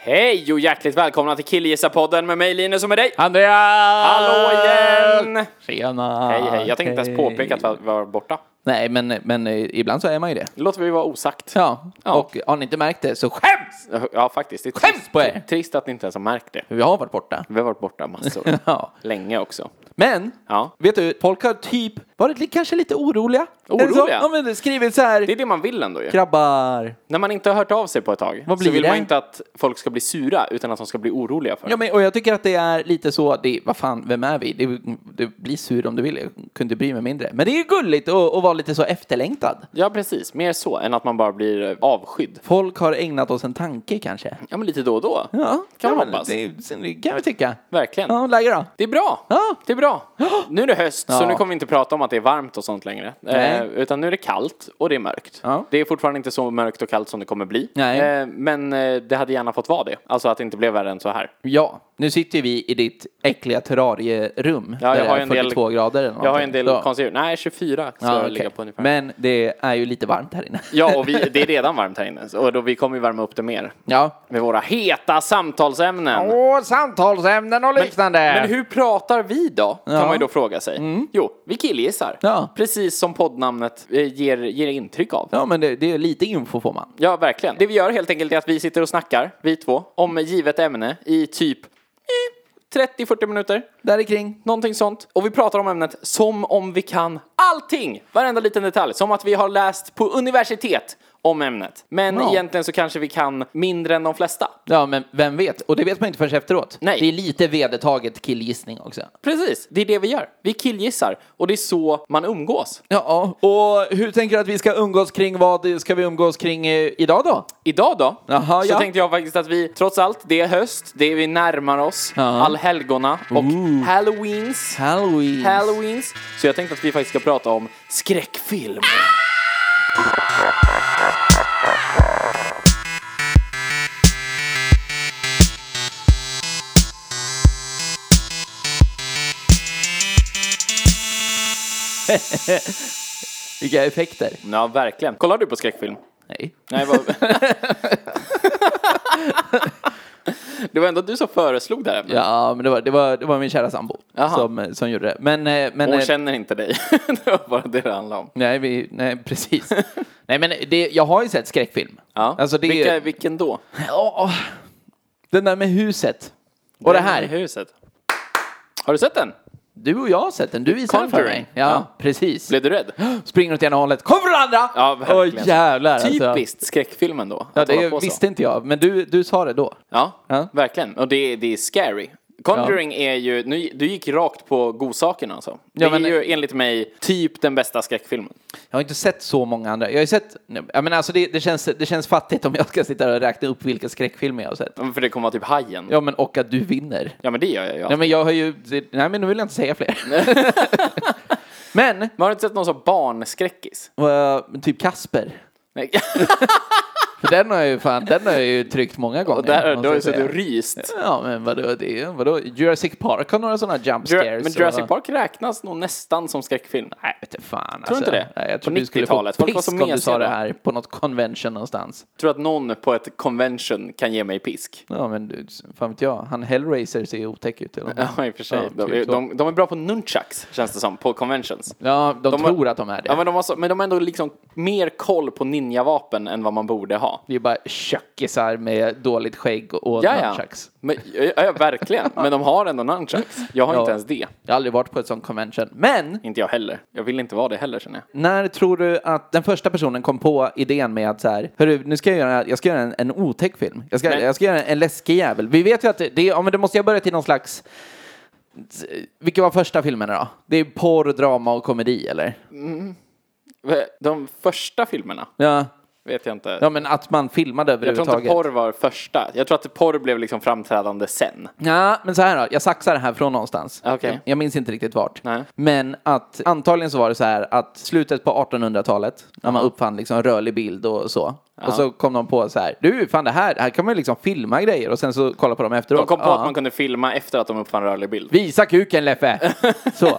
Hej och hjärtligt välkomna till Killgissarpodden med mig Linus och med dig. Andreas! Hallå igen! Tjena! Hej hej, jag tänkte inte ens påpeka att vi var borta. Nej, men, men eh, ibland så är man ju det. Det låter vi vara osagt. Ja. och har ni inte märkt det så skäms! Ja, faktiskt. Det är Skäms trist- på er! Trist att ni inte ens har märkt det. Vi har varit borta. Vi har varit borta massor. Ja. Länge också. Men, Ja. vet du, folk har typ varit li- kanske lite oroliga. Oroliga? Eller så- Ja, men skrivit så här, Det är det man vill ändå ju. grabbar. När man inte har hört av sig på ett tag Vad så blir vill det? man inte att folk ska bli sura utan att de ska bli oroliga för Ja, det. men, och jag tycker att det är lite så, det, vad fan, vem är vi? Det, det blir sur om du vill, jag kunde bry mig mindre. Men det är ju gulligt att, att vara lite så efterlängtad. Ja, precis. Mer så än att man bara blir eh, avskydd. Folk har ägnat oss en tanke kanske. Ja, men lite då och då. Ja, Kan man väl- hoppas. Det, det kan vi tycka. Verkligen. Ja, läge då? Det är bra. Ja. Det är bra. Nu är det höst, så Ja. nu kommer vi inte prata om att det är varmt och sånt längre. Nej. Eh, utan nu är det kallt och det är mörkt. Ja. Det är fortfarande inte så mörkt och kallt som det kommer bli. Nej. Eh, men eh, det hade gärna fått vara det. Alltså att det inte blev värre än så här. Ja, nu sitter vi i ditt äckliga terrarierum. Ja, där jag har det ju är en del- 42 grader eller Jag har någonting. en del Så. konstiga... Nej, 24 ska Ja, jag okej. ligga på ungefär. Men det är ju lite varmt här inne. Ja, och vi, det är redan varmt här inne. Och då, vi kommer ju värma upp det mer. ja. Med våra heta samtalsämnen. Åh, samtalsämnen och liknande. Men hur pratar vi då? Kan Ja. Mm. man ju då fråga sig. Jo, vi killgissar. Ja. Precis som poddnamnet eh, ger, ger intryck av. Ja, men det, det är lite info får man. Ja, verkligen. Det vi gör helt enkelt är att vi sitter och snackar, vi två, om givet ämne i typ eh, 30-40 minuter. Där kring. Någonting sånt. Och vi pratar om ämnet som om vi kan allting! Varenda liten detalj. Som att vi har läst på universitet om ämnet. Men Ja. egentligen så kanske vi kan mindre än de flesta. Ja, men vem vet? Och det vet man inte förrän efteråt. Nej. Det är lite vedertaget killgissning också. Precis, det är det vi gör. Vi killgissar. Och det är så man umgås. Ja, och hur tänker du att vi ska umgås kring vad ska vi umgås kring eh, idag då? Idag då? Jaha, så ja. tänkte jag faktiskt att vi, trots allt, det är höst, det är vi närmar oss, Ja. allhelgona och halloweens. Halloween. Halloweens. Så jag tänkte att vi faktiskt ska prata om skräckfilm. Vilka effekter. Ja, verkligen. Kollar du på skräckfilm? Nej. Nej, vad... det var ändå du som föreslog det här. ämnet. Ja, men det var, det var, det var min kära sambo Jaha. som, eh, som gjorde det. Men, eh, men Hon eh, känner inte dig. det var bara det det handlade om. nej, vi, nej, precis. nej, men det, jag har ju sett skräckfilm. Ja. Alltså det Vilka, är vilken då? Åh, den där med huset. Och det Den i här. huset. Har du sett den? Du och jag har sett den. Du visade den för Conjuring. mig. Ja, Ja. precis. Blev du rädd? Springer åt ena hållet. Kom från andra! Ja, verkligen. Åh, jävlar. Alltså. Typiskt skräckfilmen då. Ja, att hålla det på så. visste inte jag. Men du, du sa det då. Ja, Ja. verkligen. Och det, det är scary. Conjuring är ju, nu, du gick rakt på godsakerna alltså. Det men- är ju enligt mig typ den bästa skräckfilmen. Jag har inte sett så många andra. Jag har ju sett... Jag menar, alltså det, det, känns, det känns fattigt om jag ska sitta här och räkna upp vilka skräckfilmer jag har sett. För det kommer vara typ Hajen. Ja. Ja, men och att du vinner. men det gör jag ju. Nej alltid. men jag har ju, nej men nu vill jag inte säga fler. men, Men har du inte sett någon sån barnskräckis? eh, typ Kasper. Nej. För den har jag ju fan, den har jag ju tryckt många gånger. Och där, måste då jag har du suttit säga. och ryst. Ja men vadå, det, är- vadå, Jurassic Park har några sådana jump Jura- scares. Men Jurassic och- Park räknas nog nästan som skräckfilm. Nej vet du fan alltså. Tror du inte det? Nej, jag På tror du skulle få 90-talet. Folk var pisk så om du sa mesiga det då. här på något convention någonstans. Tror att någon på ett convention kan ge mig pisk? Ja men du, fan vet jag, han Hellraiser ser ju otäck ut. Eller något. Ja, i och för sig. Ja, de, typ så. de, de är bra på nunchucks, känns det som, på conventions. ja de, de har- tror att de är det. Ja, men, de har så, men de har ändå liksom mer koll på ninjavapen än vad man borde ha. Det är bara tjockisar med dåligt skägg och Ja, ja. nunchucks. Men, ja, ja, verkligen. Men de har ändå nunchucks. Jag har Ja. inte ens det. Jag har aldrig varit på ett sånt convention. Men Inte jag heller. Jag vill inte vara det heller känner jag. när tror du att den första personen kom på idén med att så här, hörru, nu ska jag göra, jag ska göra en, en otäck film. Jag ska, Nej. jag ska göra en läskig jävel. Vi vet ju att det, det, ja, men det måste jag börja till någon slags, vilka var första filmerna då? Det är porr, drama och komedi eller? De första filmerna Ja. vet jag inte. ja, men att man filmade jag tror inte överhuvudtaget. porr var första. Jag tror att porr blev liksom framträdande sen. Ja, men så här då. Jag saxar det här från någonstans. Okej. Jag, jag minns inte riktigt vart. Nej. Men att antagligen så var det så här att slutet på 1800-talet när man uppfann liksom rörlig bild och så. Och så kom de på så här. Du, fan det här, här kan man ju liksom filma grejer och sen så kolla på dem efteråt. De kom på Ja. att man kunde filma efter att de uppfann rörlig bild. Visa kuken Leffe! så.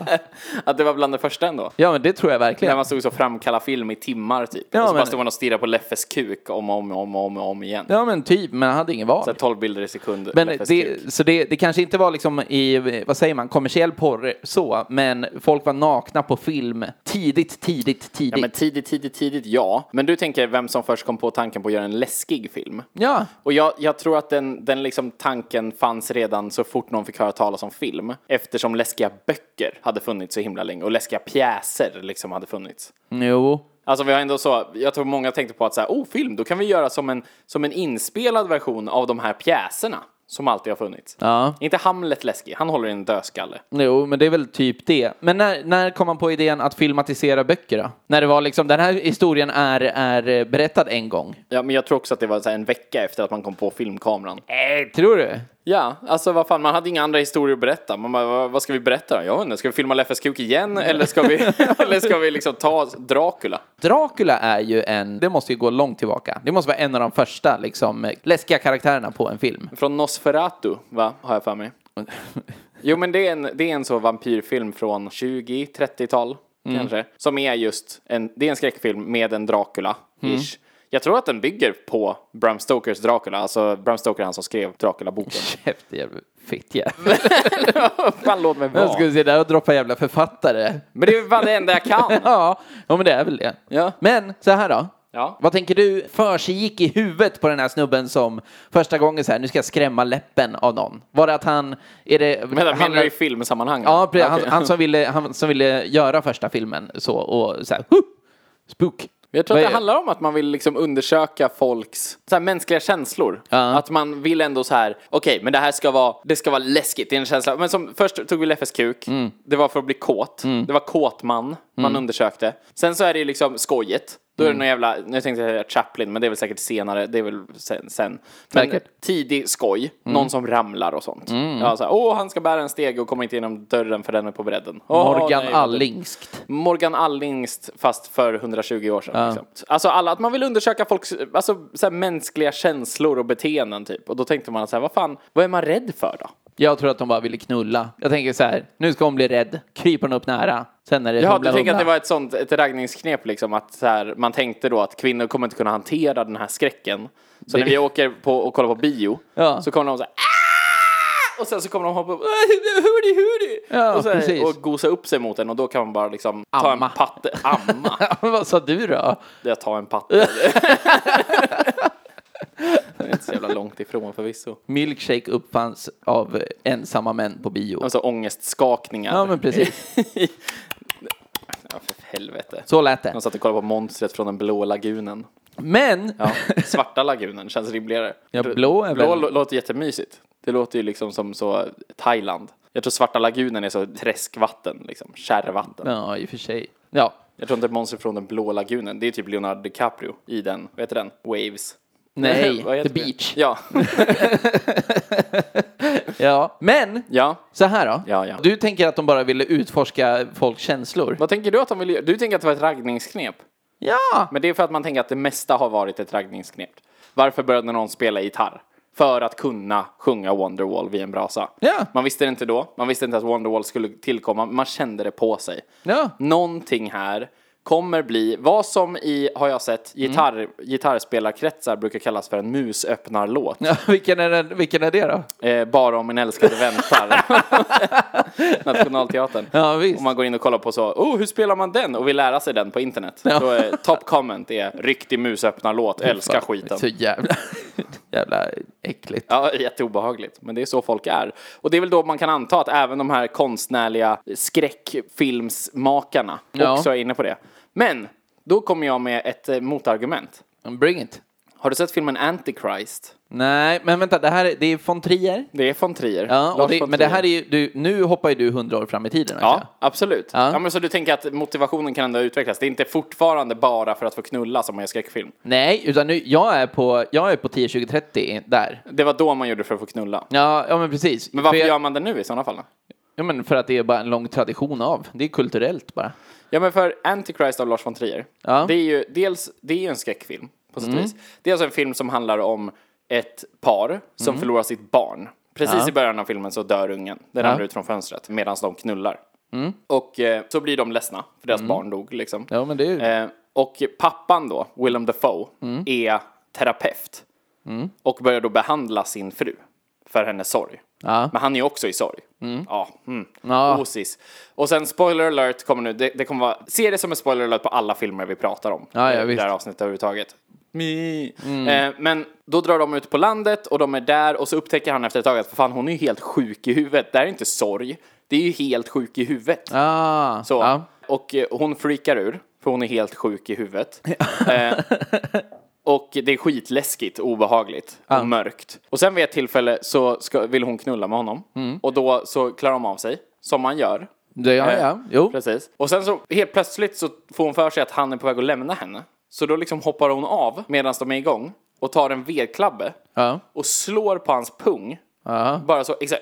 Att det var bland det första ändå. Ja, men det tror jag verkligen. När man stod så och framkallade film i timmar typ. Ja, och så bara men- stod man och stirrade på Leffes kuk om och om och om, och om, och om igen. Ja, men typ, men han hade ingen val. Så här 12 bilder i sekund. Men Leffes kuk. det, så det, det kanske inte var liksom i, vad säger man, kommersiell porr så, men folk var nakna på film tidigt, tidigt, tidigt. Ja, men tidigt, tidigt, tidigt, ja. Men du tänker vem som först kom på tanken på att göra en läskig film. Ja. Och jag, jag tror att den, den liksom tanken fanns redan så fort någon fick höra talas om film. Eftersom läskiga böcker hade funnits så himla länge och läskiga pjäser liksom hade funnits. Jo. Alltså vi har ändå så, jag tror många tänkte på att så här, oh film, då kan vi göra som en, som en inspelad version av de här pjäserna som alltid har funnits. Ja. Inte Hamlet läskig, han håller i en dödskalle. Jo, men det är väl typ det. Men när, när kom man på idén att filmatisera böcker då? När det var liksom, den här historien är, är eh, berättad en gång. Ja, men jag tror också att det var så här en vecka efter att man kom på filmkameran. Äh, tror du? Ja, alltså vad fan, man hade inga andra historier att berätta. Man bara, vad, vad ska vi berätta då? Jag vet inte, ska vi filma Leffes kuk igen eller ska vi, eller ska vi liksom ta Dracula? Dracula är ju en, det måste ju gå långt tillbaka. Det måste vara en av de första liksom läskiga karaktärerna på en film. Från Nosferatu, va? Har jag för mig. Jo, men det är en, det är en så vampyrfilm från 20-30-tal, kanske. Som är just en, det är en skräckfilm med en Dracula, ish. Jag tror att den bygger på Bram Stokers Dracula, alltså Bram Stoker är han som skrev Dracula-boken. Käft jävel, fitt jävel. fan, låt mig Jag vara. skulle se där och droppa jävla författare. Men det är fan det enda jag kan. Ja, ja men det är väl det. Ja. Men så här då. Ja. Vad tänker du försiggick i huvudet på den här snubben som första gången så här, nu ska jag skrämma läppen av någon? Var det att han, är det... Men det menar handlar- du i filmsammanhang? Ja, precis. Okej. Han, han, som ville, han som ville göra första filmen så och så här, huh, spook. Jag tror Vad att är- det handlar om att man vill liksom undersöka folks så här, mänskliga känslor. Ja. Att man vill ändå så här, okej, men det här ska vara, det ska vara läskigt, det är en känsla. Men som, först tog vi Leffes kuk, Mm. det var för att bli kåt. Det var kåtman man undersökte. Sen så är det ju liksom skojet. Då är Mm. det någon jävla, nu tänkte jag säga Chaplin, men det är väl säkert senare, det är väl sen. sen. Men Säkert. Mm. tidig skoj, någon som ramlar och sånt. Ja, så här, Åh, han ska bära en steg och kommer inte genom dörren för den är på bredden. Åh, Morgan nej, vad dumt. Allingskt. Morgan Allingst fast för 120 år sedan. Liksom. Alltså alla, att man vill undersöka folks alltså, så här, mänskliga känslor och beteenden typ. Och då tänkte man så här, vad fan, vad är man rädd för då? Jag tror att de bara ville knulla. Jag tänker så här, nu ska hon bli rädd. Kryper hon upp nära. Sen är det Ja, humla, du tänker att humla. det var ett sånt, ett raggningsknep liksom att så här, man tänkte då att kvinnor kommer inte kunna hantera den här skräcken. Så när vi åker på och kollar på bio Ja. så kommer de så här, "Ah!" och sen så kommer de hoppa upp hurdy, hurdy. Ja, och, så här, precis. och gosa upp sig mot en och då kan man bara liksom ta en Amma. patte, amma. Vad sa du då? Jag tar en patte. det är inte så jävla långt ifrån förvisso. Milkshake uppfanns av ensamma män på bio. Alltså ångestskakningar. Ja, men precis. Ja, för helvete. Så lät det. Jag satt och kollade på monstret från den blå lagunen. Men! Ja, svarta lagunen känns rimligare. Ja, blå är blå väl- lå- låter jättemysigt. Det låter ju liksom som så Thailand. Jag tror svarta lagunen är så träskvatten, liksom kärrvatten. Ja, i och för sig. Ja. Jag tror inte monstret från den blå lagunen, det är typ Leonardo DiCaprio i den, vad heter den? Waves. Nej, Vad heter The det? Beach. Ja, Ja. Men! ja. Så här då. Ja, ja. Du tänker att de bara ville utforska folks känslor? Vad tänker du att de vill göra? Du tänker att det var ett raggningsknep? Ja! Men det är för att man tänker att det mesta har varit ett raggningsknep. Varför började någon spela gitarr? För att kunna sjunga Wonderwall vid en brasa. Ja. Man visste det inte då, man visste inte att Wonderwall skulle tillkomma, men man kände det på sig. Ja. Någonting här kommer bli, vad som i, har jag sett, gitarr, gitarrspelarkretsar brukar kallas för en musöppnarlåt. Ja, vilken, är den, vilken är det då? Eh, bara om min älskade väntar. Nationalteatern. Ja, visst. Om man går in och kollar på så, oh, hur spelar man den? Och vill lära sig den på internet. Då är top comment är riktig musöppnarlåt, älskar skiten. Så jävla, jävla äckligt. Ja, jätteobehagligt. Men det är så folk är. Och det är väl då man kan anta att även de här konstnärliga skräckfilmsmakarna Ja. också är inne på det. Men, då kommer jag med ett eh, motargument. Bring it. Har du sett filmen Antichrist? Nej, men vänta, det här är, det är von Trier. Det är von Trier. Ja, och Lars det, von men det Trier. här är ju, du, nu hoppar ju du hundra år fram i tiden. Ja, verkligen. absolut. Alltså. Ja. Ja. men så du tänker att motivationen kan ändå utvecklas? Det är inte fortfarande bara för att få knulla som man gör skräckfilm. Nej, utan nu, jag är på, jag är på 10, 20, 30 där. Det var då man gjorde för att få knulla. Ja, ja men precis. Men varför för, jag- gör man det nu i sådana fall? ja, men för att det är bara en lång tradition av. Det är kulturellt bara. Ja, men för Antichrist av Lars von Trier, Ja. Mm. det är ju dels det är ju en skräckfilm på sätt och vis. Det är alltså en film som handlar om ett par som Mm. förlorar sitt barn. Precis i början av filmen så dör ungen. Den ramlar ut från fönstret medan de knullar. Och eh, så blir de ledsna för deras barn dog liksom. Mm. Ja, men det är ju... Eh, och pappan då, Willem Dafoe, Mm. är terapeut. Och börjar då behandla sin fru för hennes sorg. Ja. Men han är ju också i sorg. Ja. Mm. Ja. Osis. Och sen spoiler alert kommer nu. Det, det kommer vara, se det som en spoiler alert på alla filmer vi pratar om. Ja, ja, visst. eh, Mm. Det här avsnittet överhuvudtaget. Eh, men då drar de ut på landet och de är där och så upptäcker han efter ett tag att för fan hon är ju helt sjuk i huvudet. Det här är inte sorg. Det är ju helt sjuk i huvudet. ah, Så. Ja. Och eh, hon freakar ur, för hon är helt sjuk i huvudet. eh, och det är skitläskigt, obehagligt och mörkt. Och sen vid ett tillfälle så ska, vill hon knulla med honom. Och då så klarar de av sig, som man gör. Det, Mm. ja, Eh, ja. Jo. Precis. Och sen så helt plötsligt så får hon för sig att han är på väg att lämna henne. Så då liksom hoppar hon av medan de är igång och tar en vedklabbe Ja. och slår på hans pung. Ja. Bara så, exakt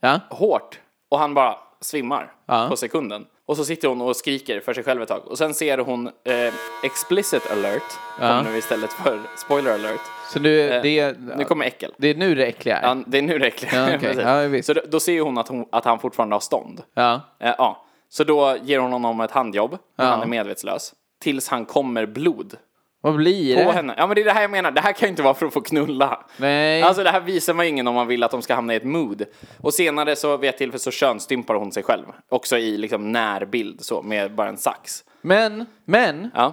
Ja. hårt och han bara svimmar Ja. på sekunden. Och så sitter hon och skriker för sig själv ett tag och sen ser hon eh, explicit alert Ja. kommer nu istället för spoiler alert. Så nu, Eh, det, Nu kommer äckel. det är nu det äckliga är. Ja, det är nu det äckliga. Ja, okej. Precis. Ja, visst. så då, då ser hon att, hon att han fortfarande har stånd. Ja. Eh, ja. Så då ger hon honom ett handjobb när han är medvetslös. Tills han kommer blod Vad blir på det? henne. Ja men det är det här jag menar, det här kan ju inte vara för att få knulla. Nej. Alltså det här visar man ju ingen om man vill att de ska hamna i ett mood. Och senare så vid ett tillfälle så könsstympar hon sig själv. Också i liksom närbild så med bara en sax. Men, men, Ja.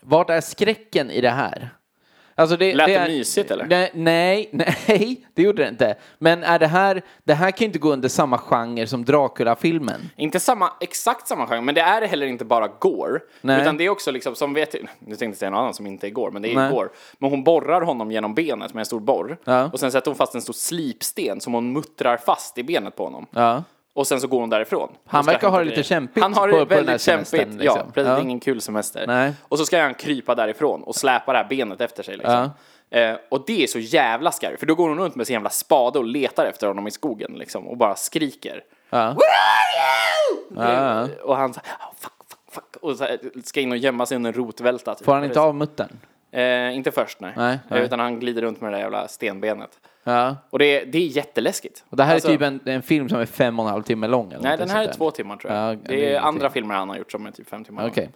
vart är skräcken i det här? Alltså det, Lät det är- mysigt, eller? Nej, nej, nej, det gjorde det inte. Men är det här, det här kan ju inte gå under samma genre som Dracula-filmen. Inte samma, exakt samma genre, men det är heller inte bara gore. Nej. Utan det är också liksom, som vet, nu tänkte jag säga något annat som inte är gore, men det är Nej. ju gore. Men hon borrar honom genom benet med en stor borr. Ja. Och sen sätter hon fast en stor slipsten som hon muttrar fast i benet på honom. Ja. Och sen så går hon därifrån. Han Hon ska verkar ha hämta det lite grejer. kämpigt Han har det på- på den här väldigt semestern, kämpigt. Ja, liksom. precis. Det Ja. är ingen kul semester. Nej. Och så ska han krypa därifrån och släpa det här benet efter sig. Liksom. Eh, och det är så jävla scary. För då går hon runt med sin jävla spade och letar efter honom i skogen. Liksom, och bara skriker. Where are you? Och han så här, "Ah, fuck, fuck, fuck. Och så här, ska in och gömma sig under en rotvälta. Typ. Får han inte av muttern? Eh, inte först, nej. Nej, nej. Eh, Utan han glider runt med det där jävla stenbenet. Ja. Och det, det är jätteläskigt. Och det här Alltså- är typ en, en film som är fem och en halv timme lång? Eller Nej, någonting den här är sånt där. två timmar tror jag. Ja, det det är är andra filmer han har gjort som är typ fem timmar. Okej.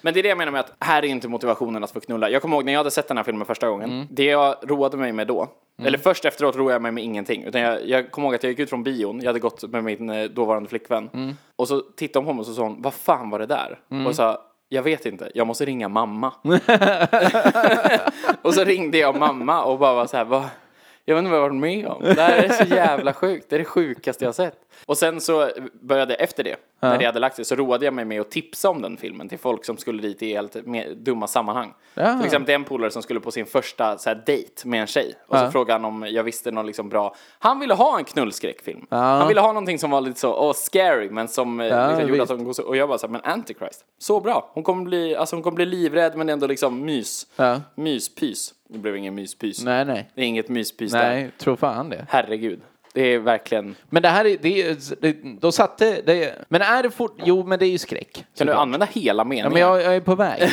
Men det är det jag menar med att här är inte motivationen att få knulla. Jag kommer ihåg när jag hade sett den här filmen första gången. Det jag roade mig med då, eller först efteråt roade jag mig med ingenting. Utan jag, jag kommer ihåg att jag gick ut från bion, jag hade gått med min eh, dåvarande flickvän. Och så tittade hon på mig och så sa hon, vad fan var det där? Och jag sa, jag vet inte, jag måste ringa mamma. och så ringde jag mamma och bara var så här, vad... Jag vet inte vad jag varit med om. Det här är så jävla sjukt. Det är det sjukaste jag har sett. Och sen så började jag efter det, när det hade lagt sig, så roade jag mig med att tipsa om den filmen till folk som skulle dit i helt med, dumma sammanhang. Ja. Till exempel en polare som skulle på sin första så här, dejt med en tjej. Och Ja. så frågade han om jag visste någon liksom bra... Han ville ha en knullskräckfilm. Han ville ha någonting som var lite så, åh, scary, men som eh, Ja, liksom, gjorde visst. att hon går så... Och jag bara så här, men Antichrist, så bra. Hon kommer bli, alltså, hon kommer bli livrädd, men ändå liksom mys. Ja. Myspys. Det blev ingen myspys. Nej, nej. Det är inget myspys där. Nej, tror fan det. Herregud. Det är verkligen... Men det här är, det är det, då satte, det, men är det fort, jo men det är ju skräck. Kan du såklart. använda hela Ja, meningen? men jag, jag är på väg.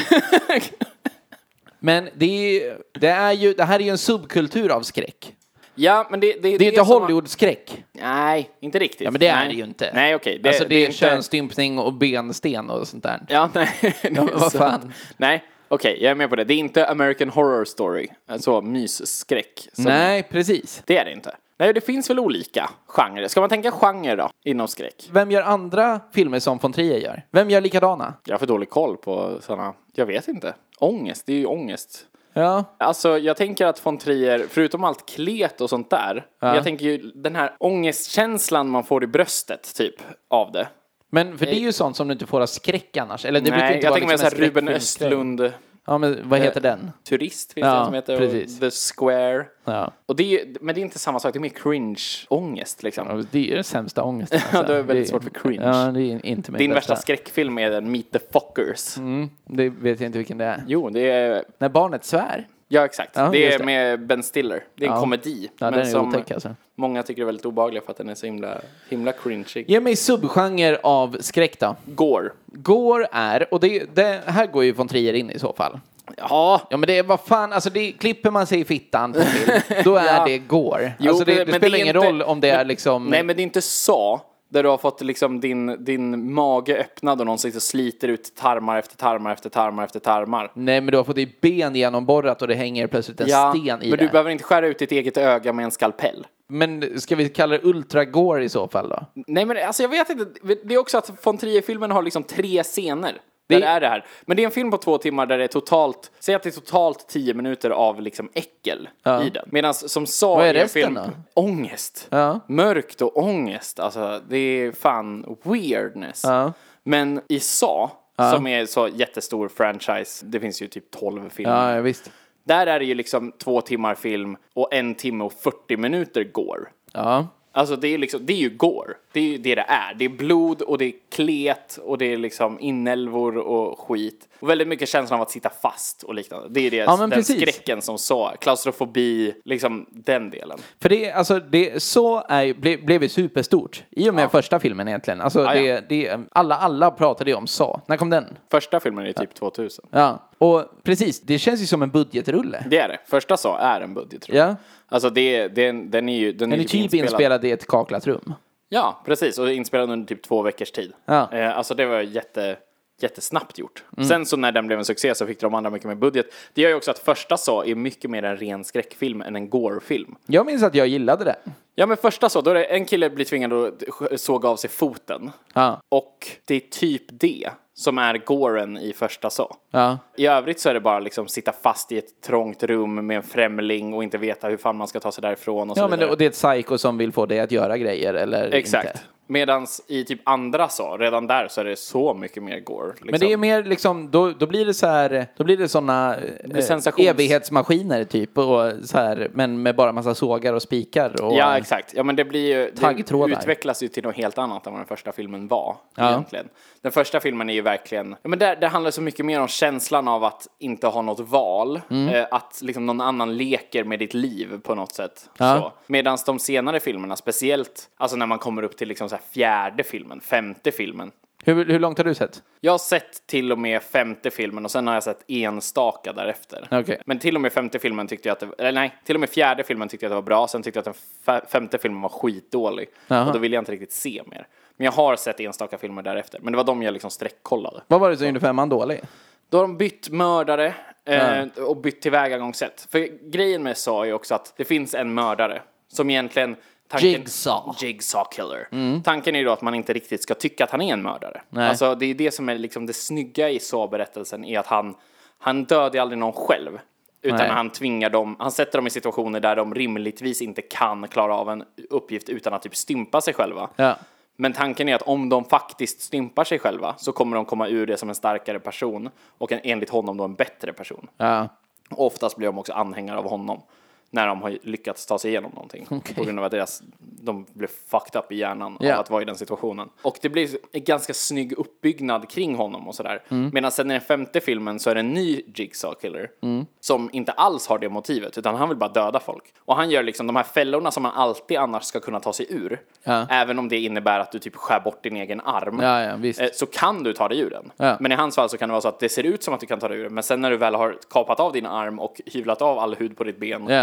men det är, det är ju, det här är ju en subkultur av skräck. Ja, men det, det, Det är inte som- Hollywood-skräck. Nej, inte riktigt. Ja, men det nej. är det ju inte. Nej, okej. Det, alltså det är inte- könsstympning och bensten och sånt där. Ja, nej. det är vad sant. fan. Nej, okej, jag är med på det. Det är inte American Horror Story, alltså mysskräck. som- Nej, precis. Det är det inte. Nej, det finns väl olika genrer. Ska man tänka genre då, inom skräck? Vem gör andra filmer som von Trier gör? Vem gör likadana? Jag har för dålig koll på sådana. Jag vet inte. Ångest, det är ju ångest. Ja, Alltså jag tänker att von Trier, förutom allt klet och sånt där, jag tänker ju den här ångestkänslan man får i bröstet typ av det. Eh. men för det är ju sånt som du inte får av skräck annars. Eller det brukar Nej, inte jag vara tänker mig liksom så en här Ruben skräckfilmsgrej. Östlund Ja, men vad heter den? Turist finns det Ja, en som heter. precis. Och The Square. Ja. Och det är ju, men det är inte samma sak, det är mer cringe-ångest liksom. Ja, Det är den sämsta ångesten. alltså. Ja, det är väldigt svårt för cringe. Ja, det är inte min Din värsta skräckfilm är den Meet the Fuckers. Mm, det vet jag inte vilken det är. Jo, det är... När barnet svär. Ja, exakt. Ja, det just är det. med Ben Stiller. Det är en Ja. komedi. Ja, den är som otäck alltså. många tycker är väldigt obehaglig för att den är så himla, himla cringeig. Ge mig subgenre av skräck då. Går. Går är, och det, det här går ju von Trier in i så fall. Ja, Ja men det är vad fan, alltså det, klipper man sig i fittan på film, då är det går. Jo, alltså det, men- det men spelar det är ingen inte- roll om det är liksom... Nej, men det är inte så där du har fått liksom din, din mage öppnad och någon sitter och sliter ut tarmar efter tarmar efter tarmar efter tarmar. nej men du har fått ditt ben genomborrat och det hänger plötsligt en sten i men du det. behöver inte skära ut ditt eget öga med en skalpell. Men ska vi kalla det ultragår i så fall då? Nej, men alltså jag vet inte. Det är också att von Trier-filmen har liksom tre scener. Det- Där det är det här. Men det är en film på två timmar där det är totalt, säg att det är totalt tio minuter av liksom äckel i den. Medan som sa Vad är i en resten film, då? ångest. Ja. Mörkt och ångest, alltså det är fan weirdness. Ja. Men i Sa, som är så jättestor franchise, det finns ju typ 12 filmer. Ja, ja, visst. Där är det ju liksom två timmar film och en timme och 40 minuter går. Ja. Alltså det är, liksom, det är ju gore. Det är ju det det är. Det är blod och det är klet och det är liksom inälvor och skit. Och väldigt mycket känslan av att sitta fast och liknande. Det är det, Ja, men den precis. skräcken som sa. Klaustrofobi, liksom den delen. För det, alltså, det, så är, ju- ble, blev ju superstort i och med första filmen egentligen. Alltså, Ja, ja. Det, det, alla, alla pratade ju om Sa. När kom den? Första filmen är ju typ 2000. Ja. Och precis, det känns ju som en budgetrulle. Det är det. Första sa är en budget tror jag. Ja. Alltså det, är- den, den är ju den Den är typ inspelad i ett kaklat rum. Ja, precis. Och inspelad under typ två veckors tid. Ja. Mm. Eh, alltså det var jätte, jättesnabbt gjort. Sen så när den blev en succé så fick de andra mycket mer budget. Det gör ju också att första så är mycket mer en ren skräckfilm än en gore-film. Jag minns att jag gillade det. Ja men första så, då är det en kille blir tvingad att sj- såga av sig foten. Ja. Och det är typ det som är goren i första så. Ja. I övrigt så är det bara liksom sitta fast i ett trångt rum med en främling och inte veta hur fan man ska ta sig därifrån och så Ja, men det, vidare. och det är ett psycho som vill få dig att göra grejer eller Exakt. inte. Medans i typ andra så, redan där så är det så mycket mer gore. Liksom. Men det är mer liksom, då, då blir det så här, då blir det sådana sensations- evighetsmaskiner typ, och så här, men med bara massa sågar och spikar. Och, Ja, exakt. Ja, men det blir ju... Det Taggtrådar. utvecklas ju till något helt annat än vad den första filmen var, Ja. egentligen. Den första filmen är ju verkligen... Ja, men där, där handlar det så mycket mer om känslan av att inte ha något val. Mm. Eh, att liksom någon annan leker med ditt liv på något sätt. Ja. Så. Medan de senare filmerna, speciellt alltså när man kommer upp till liksom så här fjärde filmen, femte filmen, hur, hur långt har du sett? Jag har sett till och med femte filmen och sen har jag sett enstaka därefter. Okej. Men till och med femte filmen tyckte jag att det, eller nej, till och med fjärde filmen tyckte jag att det var bra, sen tyckte jag att den fe- femte filmen var skitdålig. Jaha. Och då ville jag inte riktigt se mer. Men jag har sett enstaka filmer därefter, men det var de jag liksom streckkollade. Vad var det som gjorde femman dålig? Då har de bytt mördare eh, och bytt tillvägagångssätt. För grejen med Saw är också att det finns en mördare som egentligen... Jigsaw. Mm. Jigsaw killer. Tanken är ju då att man inte riktigt ska tycka att han är en mördare. Nej. Alltså det är det som är liksom det snygga i Saw-berättelsen är att han, han dödar aldrig någon själv. Utan Nej. han tvingar dem, han sätter dem i situationer där de rimligtvis inte kan klara av en uppgift utan att typ stympa sig själva. Ja. Men tanken är att om de faktiskt stympar sig själva så kommer de komma ur det som en starkare person och en, enligt honom då en bättre person. Ja. Och oftast blir de också anhängare av honom när de har lyckats ta sig igenom någonting. Okej. På grund av att deras, de blev fucked up i hjärnan Ja. av att vara i den situationen. Och det blir en ganska snygg uppbyggnad kring honom och sådär. Mm. Medan sen i den femte filmen så är det en ny Jigsaw Killer. Mm. Som inte alls har det motivet, utan han vill bara döda folk. Och han gör liksom de här fällorna som man alltid annars ska kunna ta sig ur. Ja. Även om det innebär att du typ skär bort din egen arm. Ja, ja, visst. Eh, så kan du ta dig ur den. Ja. Men i hans fall så kan det vara så att det ser ut som att du kan ta dig ur den, men sen när du väl har kapat av din arm och hyvlat av all hud på ditt ben Ja.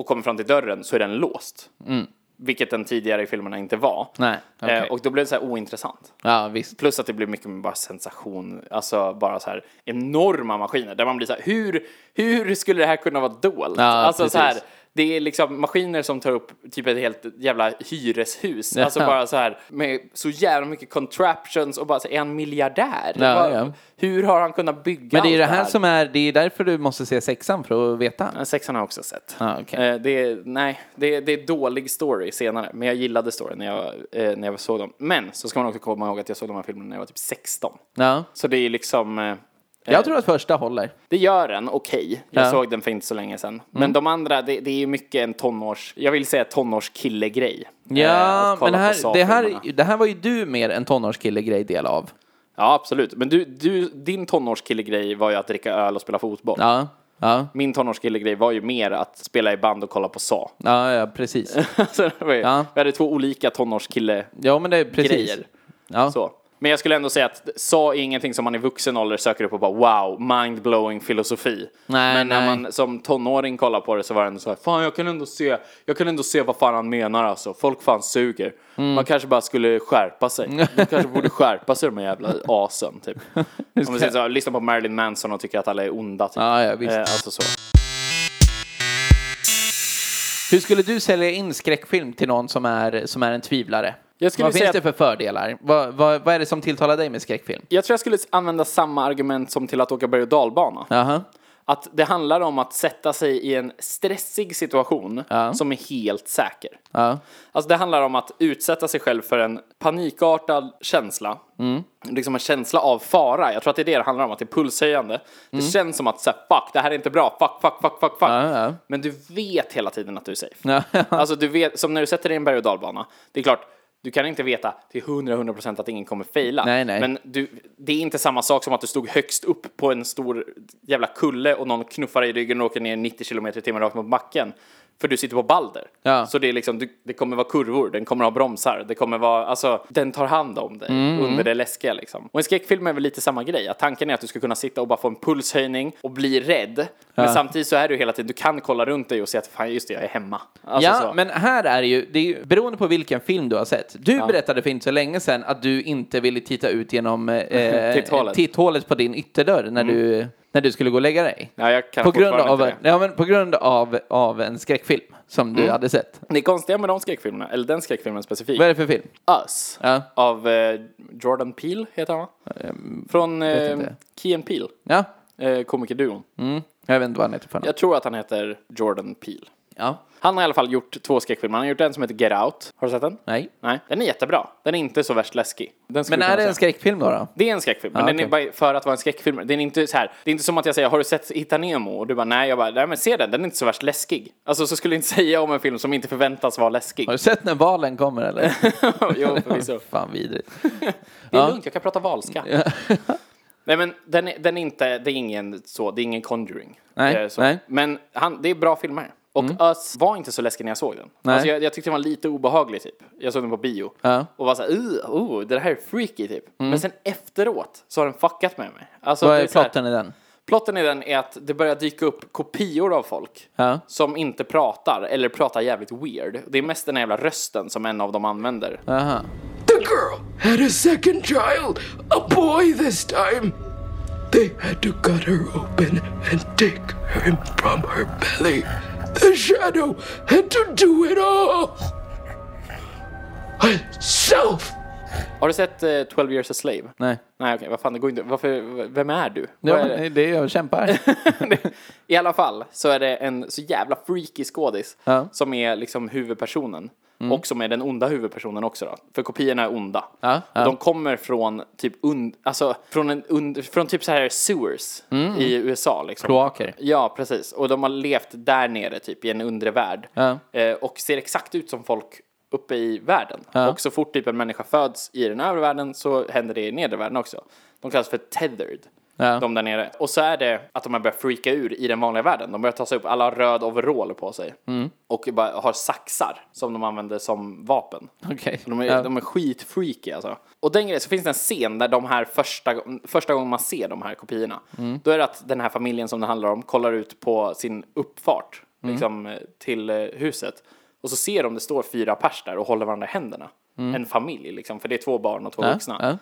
Mm. och kommer fram till dörren så är den låst. Vilket den tidigare i filmerna inte var. Nej, okej. Eh, och då blev det så här ointressant. ja, visst. Plus att det blir mycket med bara sensation, alltså bara så här enorma maskiner där man blir så här, hur, hur skulle det här kunna vara dolt? Ja, alltså så här, precis. det är liksom maskiner som tar upp typ ett helt jävla hyreshus, Ja. alltså bara så här med så jävla mycket contraptions och bara så här, är han miljardär? Ja, Bara, ja. Hur har han kunnat bygga Men det är ju allt det här som är, det är därför du måste se sexan för att veta. Ja, Sexan har jag också sett. Ah, okej. eh, det, är, nej, det, är, det är dålig story senare, men jag gillade storyn när jag, eh, när jag såg dem. Men så ska man också komma ihåg att jag såg de här filmerna när jag var typ 16. Ja. Så det är liksom... eh, Jag tror att första håller. Det gör den, okej. Jag Ja. Mm. såg den för inte så länge sedan. Men de andra, det, det är ju mycket en tonårs, jag vill säga tonårskille-grej. Eh, Ja, att kolla men det på här, det, Sagan-filmerna. här, det här var ju du mer en tonårskille-grej del av. Ja, absolut. Men du, du, din tonårskille-grej var ju att dricka öl och spela fotboll. Ja, ja, Min tonårskille-grej var ju mer att spela i band och kolla på Sa. ja, ja precis. Så det var ju, Ja. Vi hade två olika tonårskille Ja, men det är precis. Grejer. Ja. så. Men jag skulle ändå säga att Sa är ingenting som man i vuxen ålder söker upp och bara wow, mind-blowing filosofi. Nej, Men när nej. man som tonåring kollar på det så var det ändå så här, fan jag kan ändå se, jag kan ändå se vad fan han menar alltså, folk fan suger. Mm. Man kanske bara skulle skärpa sig. De kanske borde skärpa sig de här jävla asen typ. Om vi ska- säger så här, lyssna på Marilyn Manson och tycker att alla är onda typ. Ja, ja, visst. Eh, alltså så. Hur skulle du sälja in skräckfilm till någon som är, som är en tvivlare? Jag skulle vad finns säga det att- för fördelar? Vad, vad, vad är det som tilltalar dig med skräckfilm? Jag tror jag skulle använda samma argument som till att åka berg och dalbana. Jaha. Att det handlar om att sätta sig i en stressig situation som är helt säker. Ja. Alltså det handlar om att utsätta sig själv för en panikartad känsla. Mm. Liksom en känsla av fara. Jag tror att det är det det handlar om, att det är pulshöjande. Det känns som att så här, fuck, det här är inte bra, fuck, fuck, fuck, fuck, fuck. Mm. ja. Men du vet hela tiden att du är safe. Ja. Alltså du vet, som när du sätter dig i en berg och dalbana. Det är klart, du kan inte veta till 100-100% att ingen kommer fejla. Nej, nej. Men du, det är inte samma sak som att du stod högst upp på en stor jävla kulle och någon knuffar dig i ryggen och åker ner 90 km i timmen rakt mot backen. För du sitter på balder. Ja. Så det, är liksom, du, det kommer vara kurvor, den kommer ha bromsar, det kommer vara, alltså, den tar hand om dig Mm. under det läskiga liksom. Och en skräckfilm är väl lite samma grej, att tanken är att du ska kunna sitta och bara få en pulshöjning och bli rädd. Men samtidigt så är du hela tiden, du kan kolla runt dig och se att fan just det, jag är hemma. Alltså ja, så. men här är ju, det är ju beroende på vilken film du har sett. Du berättade för inte så länge sedan att du inte ville titta ut genom eh, Titthålet. titthålet på din ytterdörr när, du, när du skulle gå och lägga dig. Ja, jag kan på grund, fortfarande av, inte det. Mm. ja, men på grund av, av en skräckfilm som du hade sett. Det konstiga med de skräckfilmerna, eller den skräckfilmen specifikt, Vad är det för film? Us, Ja. av eh, Jordan Peele heter han va? Från eh, Ehm, inte. Key and Peele, Ja, eh, komikerduon. mm. jag vet inte vad han heter för något. Jag tror att han heter Jordan Peele. Ja, Han har i alla fall gjort två skräckfilmer. Han har gjort en som heter Get Out. Har du sett den? nej. Nej. Den är jättebra. Den är inte så värst läskig. Den skulle Men kunna är det säga. en Ah, skräckfilm då? då? Det är en skräckfilm, men Ja, den är bara för att vara en skräckfilm. Den är inte så här, det är inte som att jag säger har du sett Hitta Nemo? Och du bara nej, jag bara nej men se den, den är inte så värst läskig. Alltså så skulle jag inte säga om en film som inte förväntas vara läskig. Har du sett när valen kommer eller? jo, förvisso. Fan vidrigt. Det är Ja. lugnt, jag kan prata valska. nej men den är, den är inte, det är ingen så, det är ingen Conjuring. Nej, Eh, så. nej. Mm. Men han, det är bra filmer. Och Us var inte så läskig när jag såg den. Nej. Alltså jag, jag tyckte den var lite obehaglig typ. Jag såg den på bio. Ja. Mm. Och var såhär, uh, oh, det här är freaky typ. Men sen efteråt så har den fuckat med mig. Alltså, Vad det är så här- plotten i den? Plotten i den är att det börjar dyka upp kopior av folk Ja. som inte pratar eller pratar jävligt weird. Det är mest den här jävla rösten som en av dem använder. Aha. The girl had a second child, a boy this time. They had to cut her open and take him from her belly. The shadow had to do it all. Herself. Har du sett eh, 12 years a slave? Nej. Nej okej, vad fan det går inte. Varför, v- vem är du? Det Vad är är det? det jag kämpar. I alla fall så är det en så jävla freaky skådis Ja. Mm. som är liksom huvudpersonen. Och som är den onda huvudpersonen också då. För kopiorna är onda. Ja, ja. Och de kommer från typ, und, alltså, från en und, från typ så här sewers Mm. i USA liksom. Kloaker. Ja, precis. Och de har levt där nere, typ i en undre värld. Ja. Eh, och ser exakt ut som folk uppe i världen. Och så fort typ en människa föds i den övre världen så händer det i nedre världen också. De kallas för tethered. Ja. De där nere. Och så är det att de har börjat freaka ur i den vanliga världen. De börjar ta sig upp, alla har röd overall på sig. Mm. Och bara har saxar som de använder som vapen. Okej. De är, Ja. de är skitfreaky alltså. Och den grejen, så finns det en scen där de här första, första gången man ser de här kopiorna. Mm. Då är det att den här familjen som det handlar om kollar ut på sin uppfart Mm. liksom, eh, till eh, huset. Och så ser de det står fyra pers där och håller varandra i händerna. En familj liksom, för det är två barn och två Mm. Ja, vuxna. ja.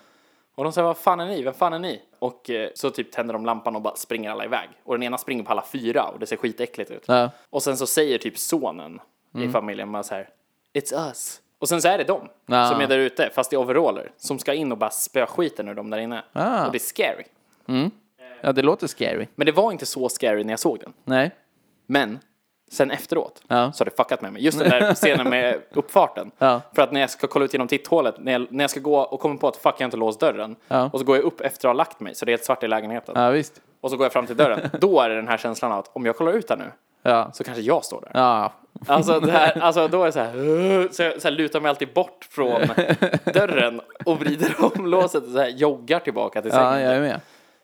Och de säger vad fan är ni, vem fan är ni? Och eh, så typ tänder de lampan och bara springer alla iväg. Och den ena springer på alla fyra och det ser skitäckligt ut. Ja. Mm. Och sen så säger typ sonen i familjen bara så här, it's us. Och sen så är det de Ja. som är där ute, fast i overaller, som ska in och bara spöa skiten ur dem där inne. Ah. Och det är scary. Ja, det låter scary. Men det var inte så scary när jag såg den. Nej. Men Sen efteråt Ja. så har det fuckat med mig. Just den där scenen med uppfarten. Ja. För att när jag ska kolla ut genom titthålet, när jag, när jag ska gå och kommer på att fuck, jag har inte låst dörren. Ja. Och så går jag upp efter att ha lagt mig, så det är helt svart i lägenheten. Ja, visst. Och så går jag fram till dörren. Då är det den här känslan av att om jag kollar ut här nu Ja. så kanske jag står där. Ja. Alltså, det här, alltså då är det så här, "Ugh", så jag så här lutar mig alltid bort från dörren och vrider om låset och så här joggar tillbaka till ja, sängen. jag är med.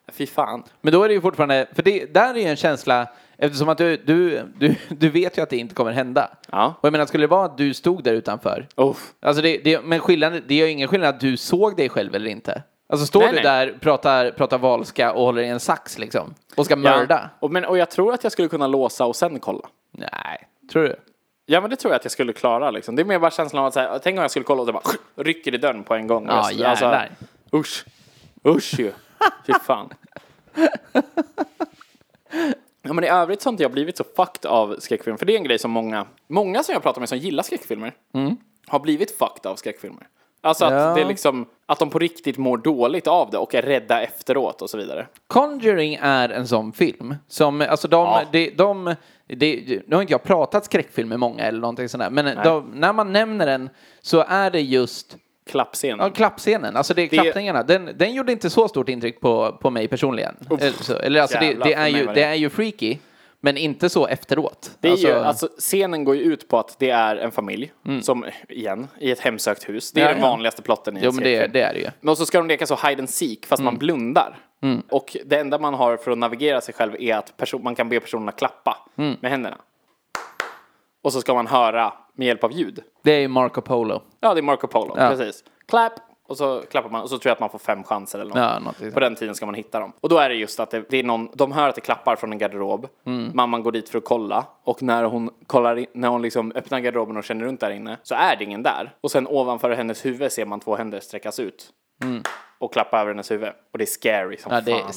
Fy fan. Men då är det ju fortfarande, för det, där är ju en känsla, eftersom att du, du, du, du vet ju att det inte kommer hända. Ja. Och jag menar, skulle det vara att du stod där utanför? Uff. Alltså det, det, men skillnaden, det gör ingen skillnad att du såg dig själv eller inte. Alltså står Nej, du nej. där, pratar, pratar valska och håller i en sax liksom? Och ska mörda? Och, men, och jag tror att jag skulle kunna låsa och sen kolla. Nej, tror du? Ja men det tror jag att jag skulle klara liksom. Det är mer bara känslan av att så här, tänk om jag skulle kolla och det bara rycker i dörren på en gång. Ja, Jag- alltså, jävlar. Usch. Usch ju. Fy fan. Ja men i övrigt så har inte jag blivit så fucked av skräckfilmer. För det är en grej som många, många som jag pratar med som gillar skräckfilmer har blivit fucked av skräckfilmer. Alltså att Mm. Ja. det är liksom, att de på riktigt mår dåligt av det och är rädda efteråt och så vidare. Conjuring är en sån film som, alltså de, Ja. de, de, de nu har inte jag pratat skräckfilm med många eller någonting sånt där, men de, när man nämner den så är det just Klappscen. Ja, klappscenen. Alltså det är klappningarna. Den, den gjorde inte så stort intryck på, på mig personligen. Eller, så, eller alltså det, jävlar, det, för är mig ju, var det det- är ju freaky, men inte så efteråt. Det är alltså, Mm. ju, alltså, scenen går ju ut på att det är en familj, som, igen, i ett hemsökt hus. Det är Ja, den ja. vanligaste plotten i en jo, men det, skräckfilm. det Mm. är det ju. Men så ska de leka så hide and seek, fast man blundar. Mm. Och det enda man har för att navigera sig själv är att perso- man kan be personerna klappa Mm. med händerna. Och så ska man höra med hjälp av ljud. Det är ju Marco Polo. Ja, det är Marco Polo, Ja. precis. Clap! Och så klappar man och så tror jag att man får fem chanser eller något. Ja, något sånt. På den tiden ska man hitta dem. Och då är det just att det, det är någon, de hör att det klappar från en garderob. Mm. Mamman går dit för att kolla. Och när hon, kollar in, när hon liksom öppnar garderoben och känner runt där inne så är det ingen där. Och sen ovanför hennes huvud ser man två händer sträckas ut. Och klappa över hennes huvud. Och det är scary som Mm. Ja, fan. det är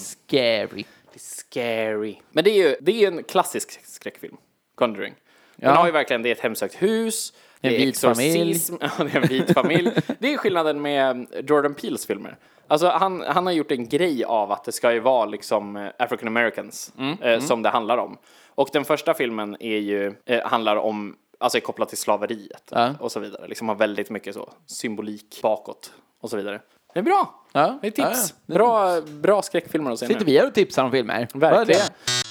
scary. Det är scary. Men det är ju, det är ju en klassisk skräckfilm, Conjuring. Den har ju verkligen, det är ett hemsökt hus, det En är vit exorcism, ja, det är en vit familj. Det är skillnaden med um, Jordan Peeles filmer. Alltså han, han har gjort en grej av att det ska ju vara liksom eh, African Americans Mm, eh, som det handlar om. Och den första filmen är ju, eh, handlar om, alltså är kopplad till slaveriet och så vidare. Liksom har väldigt mycket så, symbolik bakåt och så vidare. Det är bra! Ja, Det är tips! ja, ja. Bra, bra skräckfilmer att se nu. Sitter vi här och tipsar om filmer? Vad är Verkligen. det?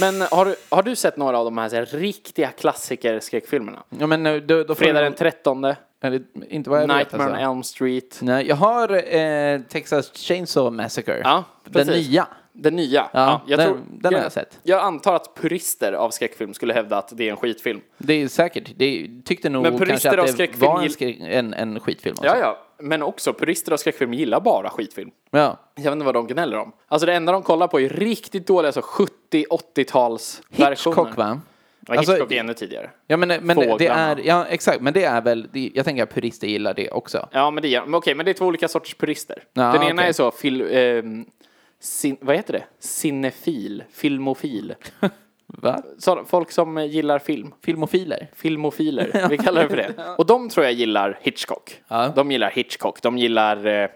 Men har du, har du sett några av de här, så här riktiga klassiker-skräckfilmerna? Ja, men nu, då, då får Fredag du- den 13, Är det inte vad Mm. jag vet Nightmare on alltså. Elm Street. Nej, jag har eh, Texas Chainsaw Massacre. Ja, den precis. nya. Den nya. Ja, den- den har jag jag sett. Jag antar att purister av skräckfilm skulle hävda att det är en skitfilm. Det är säkert. Det tyckte nog Men purister kanske att av det skräckfilm var en, gill- skräck, en, en skitfilm. också. Ja, ja. Men också, purister av skräckfilm gillar bara skitfilm. ja. Jag vet inte vad de gnäller om. Alltså det enda de kollar på är riktigt dåliga alltså, så 70-80-tals Hitchcock va? Ja, Alltså- Hitchcock är ännu tidigare. Ja men, men det, det Fåglarna. är, ja exakt, men det är väl, det, jag tänker att purister gillar det också. Ja, men det är, men okej, men det är två olika sorters purister. Ja, den ena okej. är så, fil, ehm, sin, vad heter det? Cinefil, filmofil. Va? Så, folk som eh, gillar film, Filmofiler? filmofiler, vi kallar det för det. Och de tror jag gillar Hitchcock. Ja. De gillar Hitchcock, de gillar eh,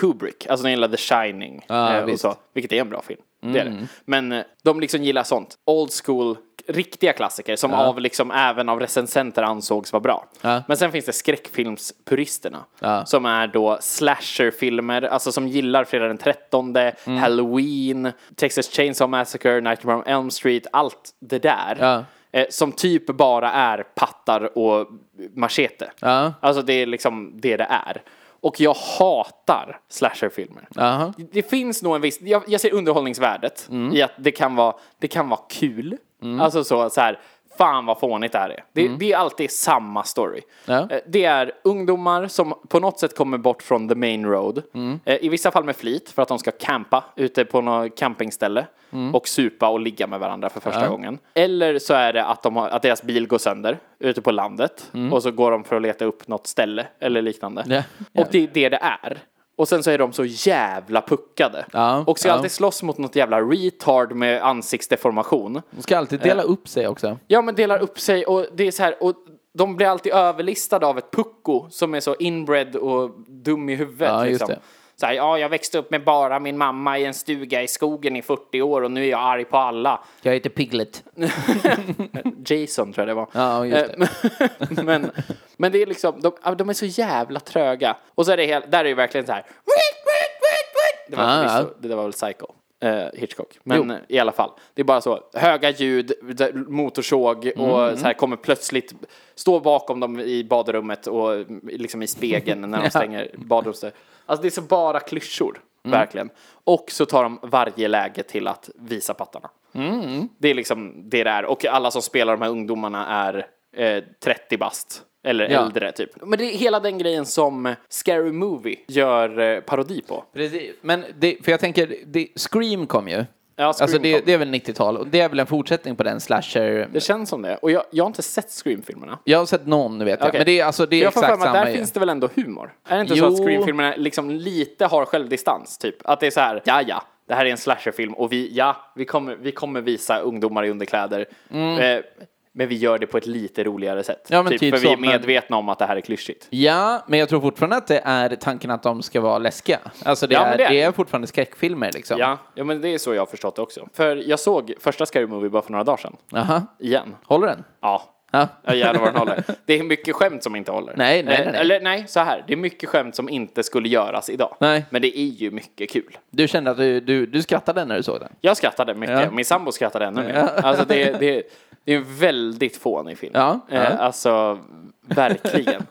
Kubrick, alltså de gillar The Shining. Ja, eh, och visst. Mm. så, vilket är en bra film. Det är det. Men eh, de liksom gillar sånt, old school, riktiga klassiker som av liksom, även av recensenter ansågs vara bra. Ja. Men sen finns det skräckfilmspuristerna. Ja. Som är då slasherfilmer, alltså som gillar Fredag den 13, Mm. Halloween, Texas Chainsaw Massacre, Nightmare on Elm Street, allt det där. Ja. Eh, som typ bara är pattar och machete. Ja. Alltså det är liksom det det är. Och jag hatar slasherfilmer. Jaha. Det finns nog en viss, jag, jag ser underhållningsvärdet i att det kan vara, det kan vara kul. Alltså så, så här, fan vad fånigt det här är. Det, det är alltid samma story. Mm. Ja. Eh, Det är ungdomar som på något sätt kommer bort från the main road. Mm. Eh, I vissa fall med flit för att de ska campa ute på något campingställe Mm. och supa och ligga med varandra för första gången. Eller så är det att, de har, att deras bil går sönder ute på landet och så går de för att leta upp något ställe eller liknande. Mm. Ja. Och det är det det är. Och sen så är de så jävla puckade. Ja, och ska ja. alltid slåss mot något jävla retard med ansiktsdeformation. De ska alltid dela upp sig också. Ja men delar upp sig och det är så här och de blir alltid överlistade av ett pucko som är så inbred och dum i huvudet. Ja, just liksom. det. Så här, ja, jag växte upp med bara min mamma i en stuga i skogen i 40 år och nu är jag arg på alla. Jag heter Piglet. Jason tror jag det var. Ja, just Eh, men, men det är liksom, de, ja, de är så jävla tröga. Och så är det helt, där är det ju verkligen så här. "Wait, wait, wait, wait." Det var, Ah, ja. förvisso- det där var väl Psycho. eh, Hitchcock. Men eh, i alla fall. Det är bara så. Höga ljud, d- motorsåg Mm, och så här kommer plötsligt stå bakom dem i badrummet och mm, liksom i spegeln när de stänger badrumsdörren. Alltså det är så bara klyschor. Mm. Verkligen. Och så tar de varje läge till att visa pattarna. Det är liksom det där. Och alla som spelar de här ungdomarna är eh, 30 bast. Eller Ja. äldre typ. Men det är hela den grejen som Scary Movie gör eh, parodi på. Precis. Men det, för jag tänker, det, Scream kom ju. Ja, Scream alltså det, kom. det är väl 90-tal och det är väl en fortsättning på den slasher... Det känns som det. Och jag, jag har inte sett Scream-filmerna. Jag har sett någon, vet jag. Okej. Men det är, alltså, det är jag får för exakt mig att där samma. finns det väl ändå humor? Är det inte så Jo. att Scream-filmerna liksom lite har självdistans? Typ att det är så här, ja ja, det här är en slasherfilm och vi, ja, vi kommer, vi kommer visa ungdomar i underkläder. Eh, men vi gör det på ett lite roligare sätt. Mm. Ja, men typ för vi så, är men- medvetna om att det här är klyschigt. Ja, men jag tror fortfarande att det är tanken att de ska vara läskiga. Alltså det, Ja, men är, det är- det är fortfarande skräckfilmer liksom. Ja, ja, men det är så jag har förstått det också. För jag såg första Scary Movie bara för några dagar sedan. Aha. Igen. Håller den? Ja, Ja. Ja, jävlar vad den håller. Det är mycket skämt som inte håller. Nej, nej, Eh, nej, nej. Eller nej, så här. Det är mycket skämt som inte skulle göras idag. Nej. Men det är ju mycket kul. Du kände att du, du, du skrattade när du såg den? Jag skrattade mycket. Ja. Min sambo skrattade ännu mer. Alltså det, det, det är en väldigt fånig film. Ja, Eh, ja. Alltså, verkligen.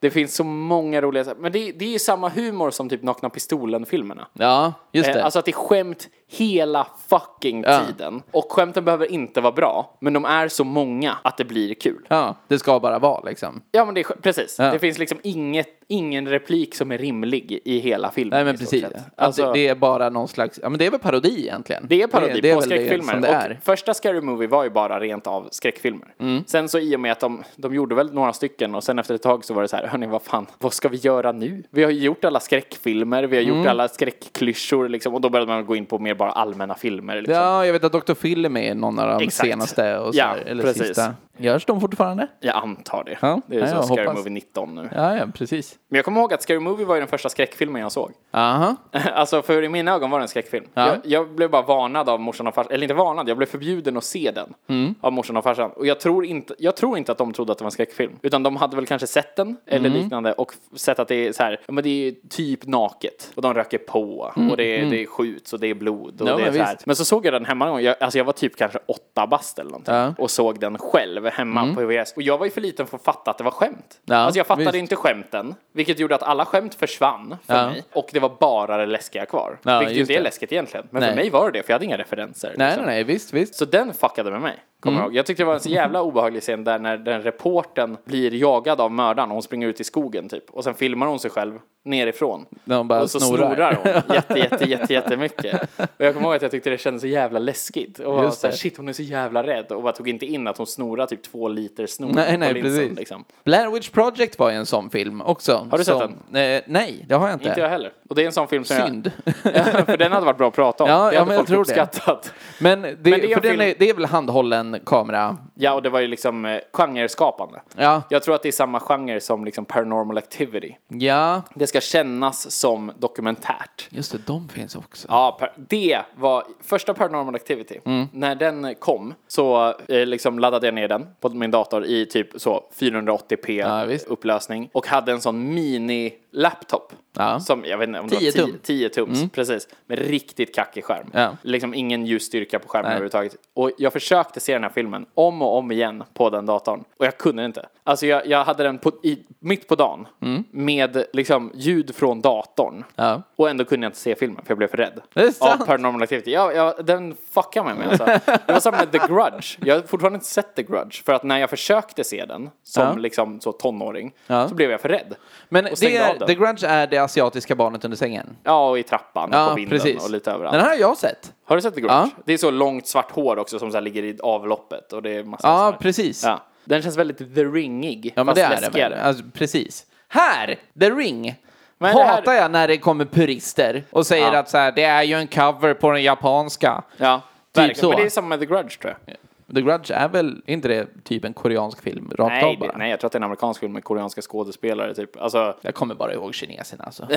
Det finns så många roliga saker. Men det, det är ju samma humor som typ Nakna Pistolen-filmerna. Ja, just det. Eh, Alltså att det är skämt hela fucking Ja. tiden. Och skämten behöver inte vara bra, men de är så många att det blir kul. Ja, det ska bara vara liksom. Ja men det är sk- precis. Ja. Det finns liksom inget, ingen replik som är rimlig i hela filmen. Nej men i stort precis. sett. Att Alltså, det, det, det är bara någon slags, ja men det är väl parodi egentligen? är parodi på väl det skräckfilmer. som det är. Mm. Och första Scary Movie var ju bara rent av skräckfilmer. Sen så i och med att de, de gjorde väl några stycken och sen efter ett tag så var det så här, hörni vad fan, vad ska vi göra nu? Vi har ju gjort alla skräckfilmer, vi har Mm. gjort alla skräckklyschor liksom och då började man gå in på mer bara allmänna filmer. Liksom. Ja, jag vet att Dr. Phil är med i någon av de Exakt. senaste och så Ja, här, eller precis. sista. Görs de fortfarande? Jag antar det. Ja, Det är ja, så jag Scary hoppas. Movie 19 nu. Ja, ja, precis. Men jag kommer ihåg att Scary Movie var ju den första skräckfilmen jag såg. Aha. Alltså för i mina ögon var det en skräckfilm. Ja. Jag, jag blev bara varnad av morsan och farsan, eller inte varnad, jag blev förbjuden att se den Mm. av morsan och farsan. Och jag tror, inte, jag tror inte att de trodde att det var en skräckfilm. Utan de hade väl kanske sett den eller Mm. liknande och f- sett att det är så här, ja men det är ju typ naket. Och de röker på och det, är- det skjuts och det är blod Mm. och Ja, det är men så här. visst. Men så såg jag den hemma någon gång, jag, alltså jag var typ kanske åtta bast eller någonting. Ja. Mm. Och såg den själv hemma på VHS. Och jag var ju för liten för att fatta att det var skämt. Ja, alltså jag fattade visst. inte skämten, vilket gjorde att alla skämt försvann för Ja. mig. Och det var bara det läskiga kvar. Ja, Vilket ju just inte är det. läskigt egentligen. Men för Nej. mig var det det, för jag hade inga referenser. Nej, liksom. nej, Mm. nej, visst, visst. Så den fuckade med mig, kommer jag ihåg. Jag tyckte det var en så jävla obehaglig scen där när den reportern blir jagad av mördaren och hon springer ut i skogen typ. Och sen filmar hon sig själv nerifrån. När hon bara och så snorar. snorar, hon jätte, jätte, jätte, jättemycket. Och jag kommer ihåg att jag tyckte det kändes så jävla läskigt. Och var Just så här, det. shit hon är så jävla rädd. Och bara tog inte in att hon snorar typ två liter snor Nej, nej, på linsen, precis. Liksom. Blair Witch Project var ju en sån film också. Har du sett som, Eh, nej, det har jag inte. Inte jag heller. Och det är en sån film som Synd. jag... för den hade varit bra att prata om. Ja, det ja, hade men jag folk tror det. uppskattat. Men det, det är en för den film- är, det är väl handhållen kamera? Ja, och det var ju liksom eh, genreskapande. Ja. Jag tror att det är samma genre som liksom Paranormal Activity. Ja, Det ska kännas som dokumentärt. just det, de finns också. Ja, per- det var första Paranormal Activity. Mm. När den kom så eh, liksom laddade jag ner den på min dator i typ så 480p Ja, visst. upplösning och hade en sån mini-laptop. Ja. Som, jag vet inte om det 10 var 10 tum. Mm. 10 tums, precis. Med riktigt kackig skärm. Ja. Liksom ingen ljusstyrka på skärmen överhuvudtaget. Och jag försökte se den här filmen om och om igen på den datorn. Och jag kunde inte. Alltså jag, jag hade den på, i, mitt på dagen med liksom ljud från datorn. Mm. Ja. Och ändå kunde jag inte se filmen för jag blev för rädd. Det är sant. Av Paranormal Activity. Ja, ja, den fuckar med mig alltså. Det var samma med The Grudge. Jag har fortfarande inte sett The Grudge. För att när jag försökte se den som Ja. liksom så tonåring Ja. så blev jag för rädd. Men Och det stängde av är, den. The Grudge är det asiatiska barnet under sängen. Ja, och i trappan och Ja, på vinden precis. och lite överallt. Den här har jag sett. Har du sett The Grudge? Ja. Det är så långt svart hår också som så här ligger i avloppet och det är massa sån Ja, här- precis. Ja. Den känns väldigt The Ringig. Ja, men fast det är det. läskigare. väl. Alltså, precis. Här, The Ring. Men det Hatar här- jag när det kommer purister och säger Ja. att så här, det är ju en cover på den japanska. Ja, Typ verkligen. så. Men det är samma med The Grudge tror jag. The Grudge är väl inte det typ en koreansk film rakt Nej, av det, bara? nej, jag tror att det är en amerikansk film med koreanska skådespelare typ. Alltså, Jag kommer bara ihåg kineserna alltså.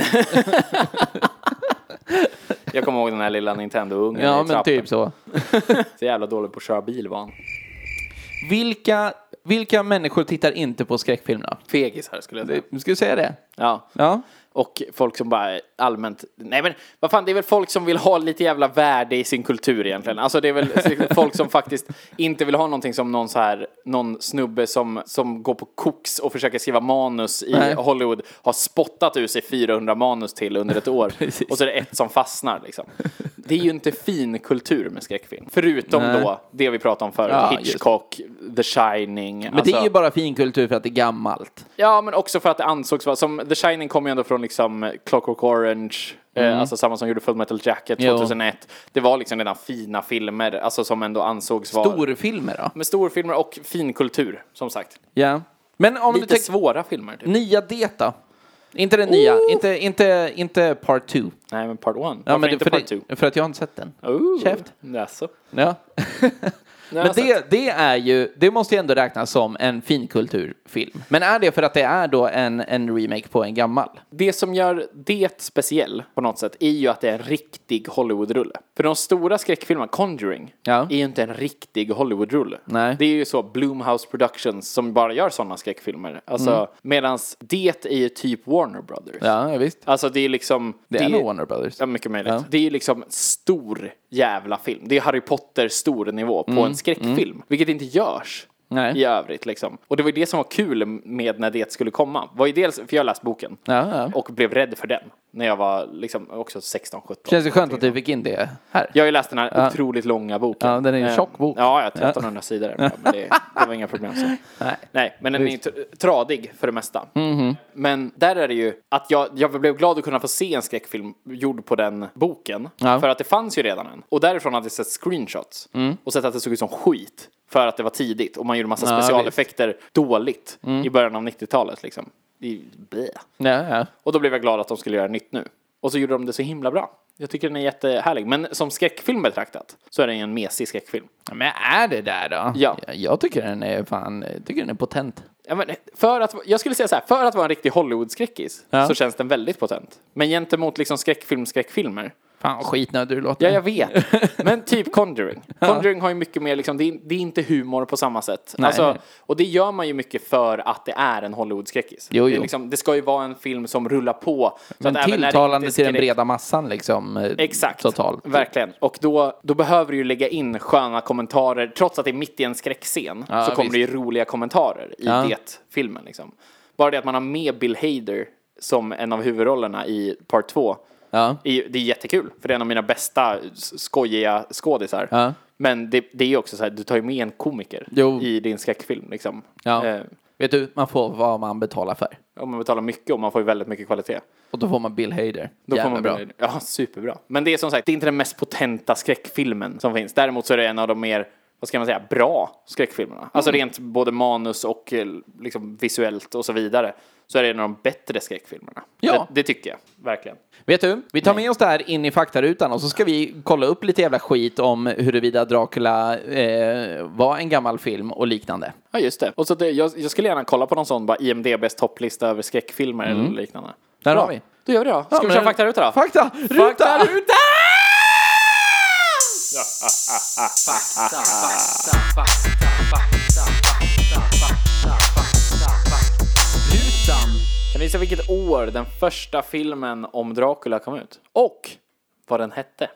Jag kommer ihåg den här lilla Nintendo-ungen Ja, i men trappen. typ så. Så jävla dålig på att köra bil var han. Vilka, vilka människor tittar inte på skräckfilmerna? Fegisar skulle jag säga. Det- Ska jag säga det? Ja. Ja. Och folk som bara allmänt, nej men vad fan det är väl folk som vill ha lite jävla värde i sin kultur egentligen. Alltså det är väl folk som faktiskt inte vill ha någonting som någon så här, någon snubbe som, som går på koks och försöker skriva manus i Nej. Hollywood har spottat ur sig 400 manus till under ett år. och så är det ett som fastnar liksom. Det är ju inte fin kultur med skräckfilm. Förutom Nej. då det vi pratade om förut, Ja, just. Hitchcock, The Shining. alltså- Men det är ju bara finkultur för att det är gammalt. Ja, men också för att det ansågs vara, som The Shining kom ju ändå från liksom Clockwork Orange, eh, alltså samma som gjorde Full Metal Jacket Mm. Jo. 2001. Det var liksom redan fina filmer, alltså som ändå ansågs vara... Storfilmer då? Med storfilmer och finkultur, som sagt. Ja. Men om du Lite tänker... svåra filmer, typ. Nya det då? Inte den nya, inte, inte, inte part two. Nej, men Part 1. Oh! Ja, Ja, Varför inte för, Part 2? det, för att jag har inte sett den. Ooh. Käft. Jaså. Ja. Men jag det, det är ju, det måste ju ändå räknas som en finkulturfilm. Men är det för att det är då en, en remake på en gammal? Det som gör det speciell på något sätt är ju att det är en riktig Hollywood-rulle. För de stora skräckfilmerna, Conjuring, Ja. är ju inte en riktig Hollywood-rulle. Nej. Det är ju så Bloomhouse Productions som bara gör sådana skräckfilmer. Alltså, medans det är ju typ Warner Brothers. Mm. Ja, visst. Alltså det är liksom... Det, är nog Warner Brothers. Ja, mycket möjligt. Ja. Det är ju liksom stor jävla film. Det är Harry Potter stor nivå på en skräckfilm, vilket inte görs. Mm, Nej. I övrigt liksom. Och det var ju det som var kul med när det skulle komma. Var ju dels, för jag läste boken. Ja, ja. Och blev rädd för den. När jag var liksom också 16, 17. Känns det skönt att du fick in det här? Jag har ju läst den här otroligt långa boken. Ja, den är ju en Eh, tjock bok. Ja, ja, 1300 sidor. är det, Men det, det var inga problem. Så. Nej. Mhm. Nej, men den är ju tr- tradig för det mesta. Men där är det ju att jag, jag blev glad att kunna få se en skräckfilm gjord på den boken. Ja. Mm. För att det fanns ju redan en. Och därifrån hade jag sett screenshots. Och sett att det såg ut som skit. För att det var tidigt och man gjorde massa Ja, Mm. specialeffekter dåligt i början av 90-talet liksom. Det är ju blä. Ja, ja. Och då blev jag glad att de skulle göra nytt nu. Och så gjorde de det så himla bra. Jag tycker den är jättehärlig. Men som skräckfilm betraktat så är den ju en mesig skräckfilm. Ja, Men är det där då? Ja. Jag tycker den är fan, jag tycker den är potent. Ja, men för att, jag skulle säga så här, för att vara en riktig Hollywood-skräckis Ja. så känns den väldigt potent. Men gentemot liksom skräckfilm-skräckfilmer. Fan vad skitnödig du låter. Ja, jag vet. Men typ Conjuring. Conjuring har ju mycket mer liksom, det är, det är inte humor på samma sätt. Nej. Alltså, och det gör man ju mycket för att det är en Hollywood-skräckis. Jo, Det, är jo. liksom, det ska ju vara en film som rullar på. Så Men att även när det tilltalande inte till den skräck- breda massan liksom. eh, Exakt. Total. Verkligen. Och då, då behöver du ju lägga in sköna kommentarer. Trots att det är mitt i en skräckscen Ja, så kommer visst. det ju roliga kommentarer i Ja. det filmen. Liksom. Bara det att man har med Bill Hader som en av huvudrollerna i Part 2. Ja. är ju- Det är jättekul, för det är en av mina bästa s- skojiga skådisar. Ja. Men det, det är ju också så här, du tar ju med en komiker Jo. i din skräckfilm. Liksom. Ja. Eh, Vet du, man får vad man betalar för. och man betalar mycket och man får ju väldigt mycket kvalitet. Och då får man Bill Hader. Då får Jävla man bra. Ja, superbra. Men det är som sagt, det är inte den mest potenta skräckfilmen som finns. Däremot så är det en av de mer, vad ska man säga, bra skräckfilmerna. Alltså rent både manus och eh, liksom visuellt och så vidare. Så är det en av de bättre skräckfilmerna. Ja. Det, det tycker jag, verkligen. Vet du, vi tar med oss det här in i faktarutan och så ska vi kolla upp lite jävla skit om huruvida Dracula eh, var en gammal film och liknande. Ja, just det. Och så det, jag, jag skulle gärna kolla på någon sån, bara IMDBs topplista över skräckfilmer eller liknande. Där Bra. har vi. Då gör Mm. vi det då. Ska vi men- köra faktaruta då? Fakta! Ruta! Ruta! Kan ni gissa vilket år den första filmen om Dracula kom ut? Och vad den hette?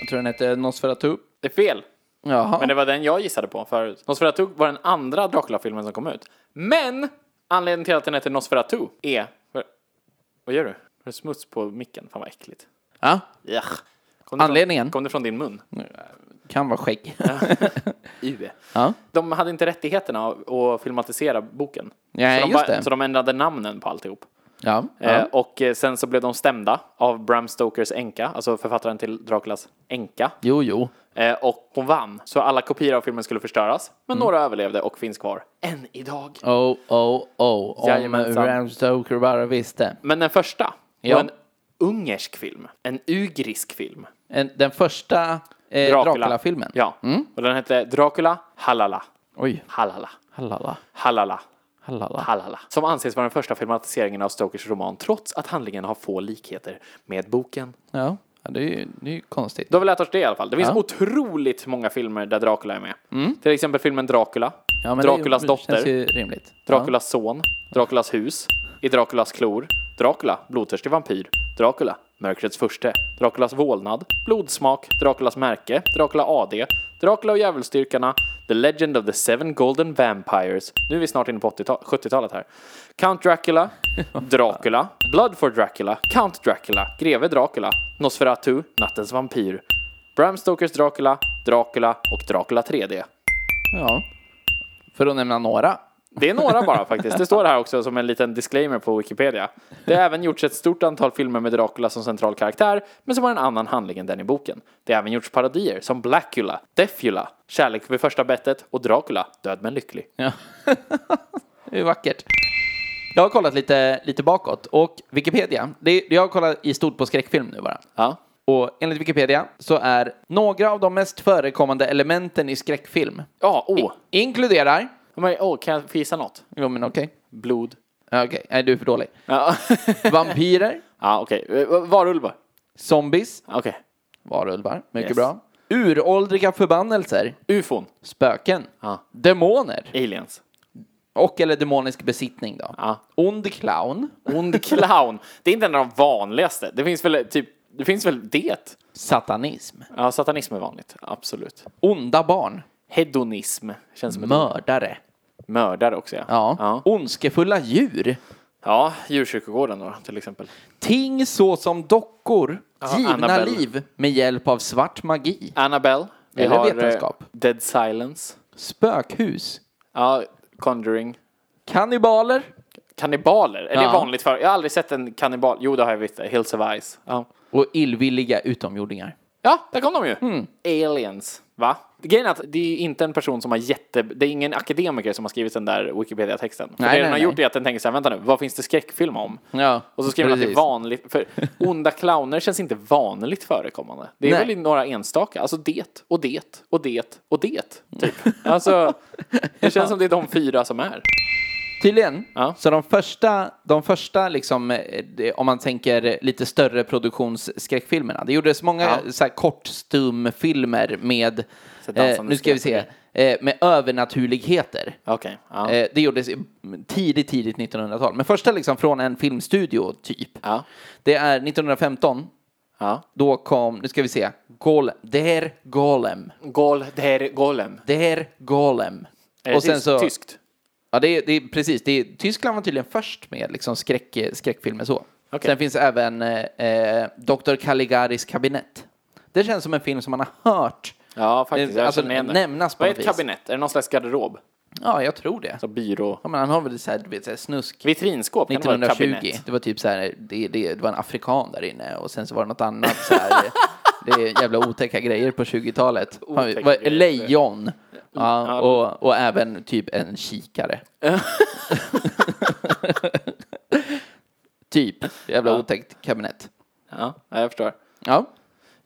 Jag tror den hette Nosferatu. Det är fel. Jaha. Men det var den jag gissade på förut. Nosferatu var den andra Dracula-filmen som kom ut. Men anledningen till att den heter Nosferatu är... Vad- Vad gör du? Har du smuts på micken? Fan vad äckligt. Ja, Ja. Kom det Anledningen? Från, kom det från din mun? kan vara skägg. Ue. Ja. De hade inte rättigheterna att- att filmatisera boken. Nej, så, de just bara- det. så de ändrade namnen på alltihop. Ja. Eh, ja. och eh, sen så blev de stämda av Bram Stokers änka, alltså författaren till Draculas änka. Jo, jo. Eh, och hon vann, så alla kopior av filmen skulle förstöras. Men Mm. några överlevde och finns kvar än idag. Oh, oh, oh. Om Jajamensan. Bram Stoker bara visste. Men den första Ja. var en ungersk film. En ugrisk film. En- Den första eh, Dracula-filmen. Mm. Ja. Och den hette Dracula Halala. Oj. Halala. Hallala. Halala. Hallala. Halala. Som anses vara den första filmatiseringen av Stokers roman trots att handlingen har få likheter med boken. Ja. Ja, det, är ju, det är ju konstigt. Du har väl lärt oss det i alla fall. Det finns Ja. Mm. otroligt många filmer där Dracula är med. Till exempel filmen Dracula, Ja, men Draculas det, dotter, känns ju rimligt. Draculas son, Draculas hus, I Draculas klor, Dracula, blodtörstig vampyr, Dracula, mörkrets förste, Draculas vålnad, blodsmak, Draculas märke, Dracula AD, Dracula och djävulsdyrkarna, The Legend of the Seven Golden Vampires, nu är vi snart inne på 80-tal- 70-talet här, Count Dracula, Dracula, Blood for Dracula, Count Dracula, Greve Dracula, Nosferatu, Nattens vampyr, Bram Stokers Dracula, Dracula och Dracula 3D. Ja. ja. För att nämna några. Det är några bara faktiskt. Det står här också som en liten disclaimer på Wikipedia. Det har även gjorts ett stort antal filmer med Dracula som central karaktär, men som har en annan handling än den i boken. Det har även gjorts parodier som Blackula, Defula, Kärlek vid första bettet och Dracula, Död men lycklig. Ja. det är vackert. Jag har kollat lite, lite bakåt och Wikipedia, det, jag har kollat i stort på skräckfilm nu bara. Ja. Och enligt Wikipedia så är några av de mest förekommande elementen i skräckfilm Ja, åh. inkluderar... Men, åh, kan jag få gissa något? Jo men okej. Blod. Ja, Okej, nej du är för dålig. Ja, Vampyrer, ja okej. Eh, Varulvar. zombies, Okej. varulvar, mycket Yes. bra. Uråldriga förbannelser, Ufon. spöken, Ja. demoner Aliens. och eller demonisk besittning då. Ja. Ond clown, Ond clown. Det är inte en av de vanligaste. Det finns väl typ, det finns väl det? satanism, Ja, satanism är vanligt. Absolut. onda barn, Hedonism. Känns som ett mördare. Mördare också ja. Ja. ja. Ondskefulla djur. Ja, djurkyrkogården då till exempel. Ting såsom dockor, givna Annabelle. liv med hjälp av svart magi. Annabelle. Vi Eller har eh, vetenskap. Dead Silence. Spökhus. Ja, Conjuring. Kannibaler. Kannibaler, är det Ja. vanligt för? Jag har aldrig sett en kannibal. Jo, det har jag visst. Hills of Ice. Ja. Och illvilliga utomjordingar. ja, där kom de ju. Mm. Aliens. Va? Grejen är att det är inte en person som har jätte... Det är ingen akademiker som har skrivit den där Wikipedia-texten. För Nej, det den nej, Mm. har nej. gjort är att den tänker så här, vänta nu, vad finns det skräckfilm om? Ja, Och så skriver man att det är precis. vanligt, för onda clowner känns inte vanligt förekommande. Det är Nej. väl i några enstaka, alltså det och det och det och det, typ. Mm. Alltså, det känns som det är de fyra som är. Tydligen. Ja. Så de första, de första liksom, eh, det- om man tänker lite större produktionsskräckfilmerna. Det gjordes många Ja. så här, kortstumfilmer med, Så dansande eh, nu ska vi se, skräckfilm. eh, med övernaturligheter. Okej, ja. Eh, Det gjordes i- tidigt, tidigt 1900-tal. Men första liksom från en filmstudio, typ. Ja. Det är 1915. ja. Då kom, nu ska vi se, Golem. Der Golem. Gol, der Golem. Der Golem. Är det tyst- Tyskt? Ja, det är, det är precis. Det är, Tyskland var tydligen först med liksom skräck, skräckfilmer så. Okej. Sen finns även eh, eh, Dr. Caligaris kabinett. Det känns som en film som man har hört. Ja, faktiskt. Eh, Jag alltså, känner igen det. nämnas på Vad är något ett vis. kabinett? Är det någon slags garderob? Ja, jag tror det. Så byrå? Ja, men han har väl så här, du vet, så här snusk. Vitrinskåp? Kan det vara ett 1920. kabinett? Det var typ så här, det, det, det var en afrikan där inne och sen så var det något annat så här. Det är jävla otäcka grejer på 20-talet. Fan, Otäcka vad- grejer. Lejon. Ja, och, och även typ en kikare. typ. Jävla otäckt kabinett. Ja, ja, jag förstår. Ja.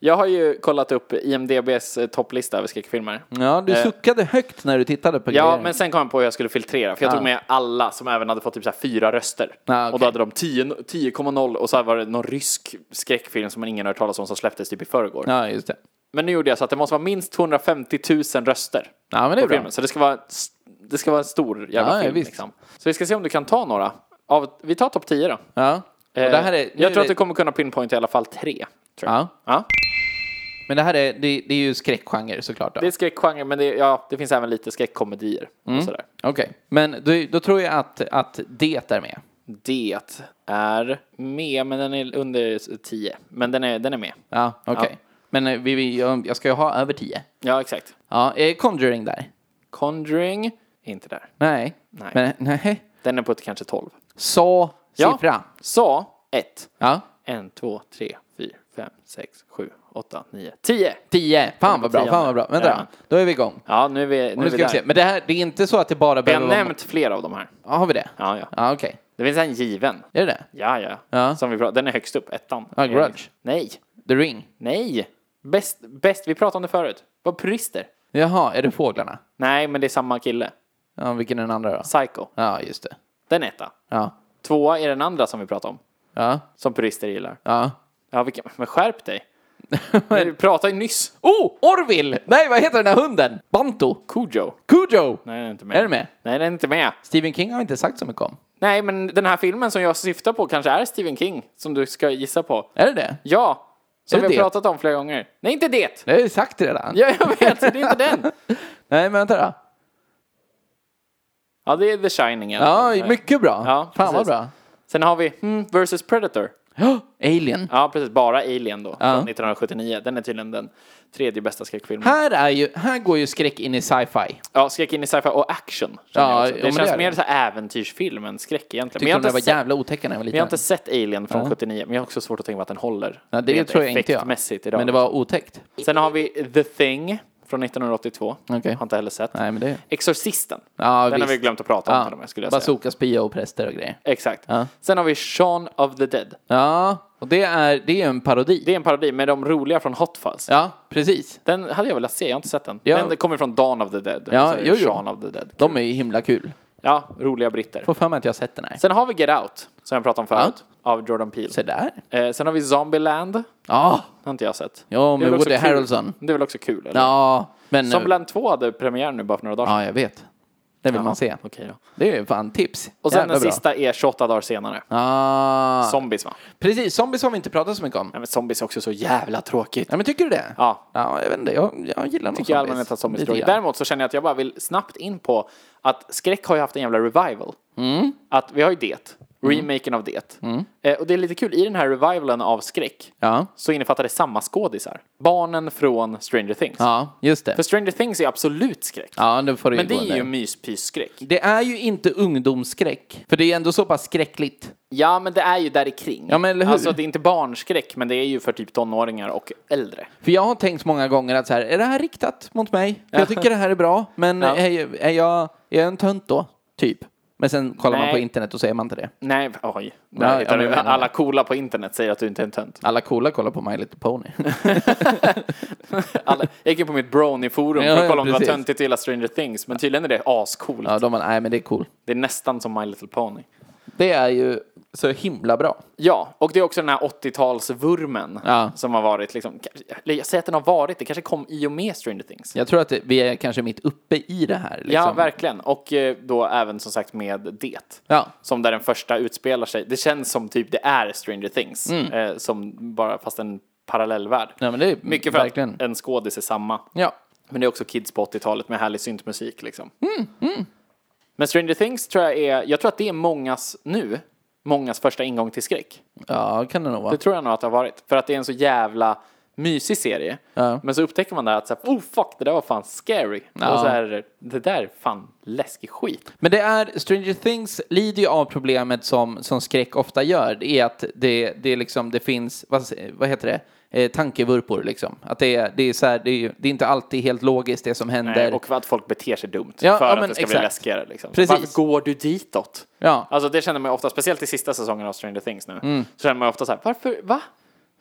Jag har ju kollat upp IMDBs eh, topplista över skräckfilmer. ja, du suckade högt när du tittade på Eh. Ja, grejer. men sen kom jag på hur jag skulle filtrera. För jag Ah. tog med alla som även hade fått typ så här fyra röster. Ah, okej. Och då hade de 10 10,0 och så här var det någon rysk skräckfilm som man ingen har hört talas om som släpptes typ i förrgår. Ja, just det. Men nu gjorde jag så att det måste vara minst 250 000 röster. Ja, men det är på bra. filmen. Så det ska vara, s- det ska vara en stor jävla Ja, ja, film. visst. Liksom. Så vi ska se om du kan ta några. Av, vi tar topp 10 då. Ja. Och Eh, det här är, nu jag är tror det, att du kommer kunna pinpointa i alla fall tre. Tror jag. Ja. Ja. Men det här är, det, det är ju skräckgenre såklart. Då. Det är skräckgenre, men det, ja, det finns även lite skräckkomedier. Mm. Och sådär. Okej, men då, då tror jag att, att det är med. Det är med, men den är under 10. Men den är, den är med. Ja, okej. Men eh, vi, vi, jag, jag ska ju ha över 10. Ja, exakt. Ja, är Conjuring där? Conjuring, inte där. Nej. Nej. Men, nej. Den är på ett, kanske 12. Så, Ja. siffra. Så, 1. Ja. 1, 2, 3, 4, 5, 6, 7, 8, 9, 10. 10. Fan vad bra, Tionde. fan vad bra. Jajamän. Vänta, då är vi igång. Ja, nu är vi, nu Nu är vi ska vi se. där. Men det här, det är inte så att det bara Vi har behöver nämnt flera av de här. Ja, har vi det? Ja, ja. Ja, okej. Det finns en given. Är det det? Ja, ja. Ja. Som vi pratar, den är högst upp, ettan. Ja, Grudge. Nej, The Ring? nej. Bäst, bäst, vi pratade om det förut. Vad purister. Jaha, är det Fåglarna? Nej, men det är samma kille. Ja, vilken är den andra då? Psycho. Ja, just det. Den är etta. Ja. Tvåa är den andra som vi pratade om. Ja, Som purister gillar. ja. Ja, vilka, men skärp dig. Du pratade ju nyss. Oh! Orville! Nej, vad heter den här hunden? Banto? Kujo. Cujo! Nej, den är inte med. Är du med? Nej, den är inte med. Stephen King har inte sagt så mycket om. Nej, men den här filmen som jag syftar på kanske är Stephen King, som du ska gissa på. Är det det? Ja, som Är det vi har det? pratat om flera gånger. Nej, inte det! Det har jag ju sagt redan. Ja, jag vet, det är inte den. Nej, men vänta då. Ja, det är The Shining. i alla fall. Ja, mycket bra. Ja, Fan vad precis. bra. Sen har vi hmm, versus Predator. Ja, Alien. Ja, precis. Bara Alien då, från 1979. Den är tydligen den tredje bästa skräckfilmen. Här, är ju, här går ju skräck in i sci-fi. Ja, skräck in i sci-fi och action. Ja, Ja, jo, det men det känns är mer det. så här äventyrsfilm än skräck egentligen. Tyckte de det var sett, jävla otäcka när jag var men jag har liten. inte sett Alien från 79, men jag har också svårt att tänka mig att den håller. Ja, det rent tror jag inte jag. effektmässigt idag. Men det var otäckt. Sen har vi The Thing från 1982. Okej. Har inte heller sett. Nej, men det... Exorcisten. Ja, den har visst. vi glömt att prata om till och med, skulle jag säga. Bazookas, pia och präster och grejer. Exakt. Sen har vi Shaun of the Dead. Ja, och det är, det är en parodi. Det är en parodi med de roliga från Hot Fuzz. Ja, precis. Den hade jag velat se, jag har inte sett den. Ja. Den kommer från Dawn of the Dead. Ja, Så jo, jo. Shaun of the Dead. De är ju himla kul. Ja, roliga britter. Får för mig att jag har sett den här. Sen har vi Get Out, som jag pratade om förut, av Jordan Peele. Se där. Eh, sen har vi Zombieland, den Ja, har inte jag sett. ja Det är med väl också Woody kul. Harrelson. Det är väl också kul? Eller? Ja, men... Zombieland 2 hade premiär nu bara för några dagar Ja, jag vet. Det vill man se. Okej då. Det är ju fan tips. Och sen Jävla den bra. sista är 28 dagar senare. Ah, Zombies va? precis, zombies har vi inte pratat så mycket om. Nej men zombies är också så jävla tråkigt. Ja, men tycker du det? Ja. Ja, jag vet inte. Jag, jag gillar nog Tycker jag allmänhet att zombies är tråkigt. Däremot så känner jag att jag bara vill snabbt in på att skräck har ju haft en jävla revival. Mm. Att vi har ju det, remaken av det. Eh, och det är lite kul, i den här revivalen av skräck Ja. så innefattar det samma skådisar. Barnen från Stranger Things. Ja, just det. För Stranger Things är absolut skräck. Ja, det får du Men det gå är under. ju myspysskräck. Det är ju inte ungdomsskräck, för det är ändå så pass skräckligt. Ja, men det är ju där i kring. Ja, men eller hur? Alltså, det är inte barnskräck, men det är ju för typ tonåringar och äldre. För jag har tänkt många gånger att så här, är det här riktat mot mig? För jag tycker det här är bra, men Ja. är, jag- är, jag, är jag en tönt då? Typ. Men sen kollar man Nej. på internet och säger man inte det. Nej, oj. Ja, Nej, utan ja, jag menar alla coola på internet säger att du inte är en tönt. Alla coola kollar på My Little Pony. Alla, jag gick in på mitt brony-forum Ja, för att ja, kolla om det var precis. töntigt att gilla Stranger Things, men tydligen är det ascoolt. ja, de bara, nej men det är cool. Det är nästan som My Little Pony. Det är ju så himla bra. Ja, och det är också den här 80-talsvurmen Ja. som har varit liksom, eller jag säger att den har varit, det kanske kom i och med Stranger Things. Jag tror att det, vi är kanske mitt uppe i det här. Liksom. Ja, verkligen. Och eh, då även som sagt med det. Ja. Som där den första utspelar sig. Det känns som typ det är Stranger Things. Eh, som bara, fast en parallellvärld. Mm. Ja, men det är Mycket för verkligen. att en skådis är samma. Ja. Men det är också kids på 80-talet med härlig syntmusik liksom. Mm, Men Stranger Things tror jag är, jag tror att det är mångas nu, mångas första ingång till skräck. ja, kan det nog vara. Det tror jag nog att det har varit. För att det är en så jävla mysig serie. Ja. Men så upptäcker man där att så här, oh fuck, det där var fan scary. Ja. Och så här, det där är fan läskig skit. Men det är, Stranger Things lider ju av problemet som, som skräck ofta gör. Det är att det, det, är liksom, det finns, vad, s- vad heter det, eh, tankevurpor liksom. Att det är, det, är så här, det, är, ju- det är inte alltid helt logiskt det som händer. Nej, och att folk beter sig dumt Ja, för ja, att men det ska bli exakt. läskigare. Liksom. Precis. Varför går du ditåt? Ja. Mm. Alltså det känner man ju ofta, speciellt i sista säsongen av Stranger Things nu, så känner man ju ofta så här, varför, va?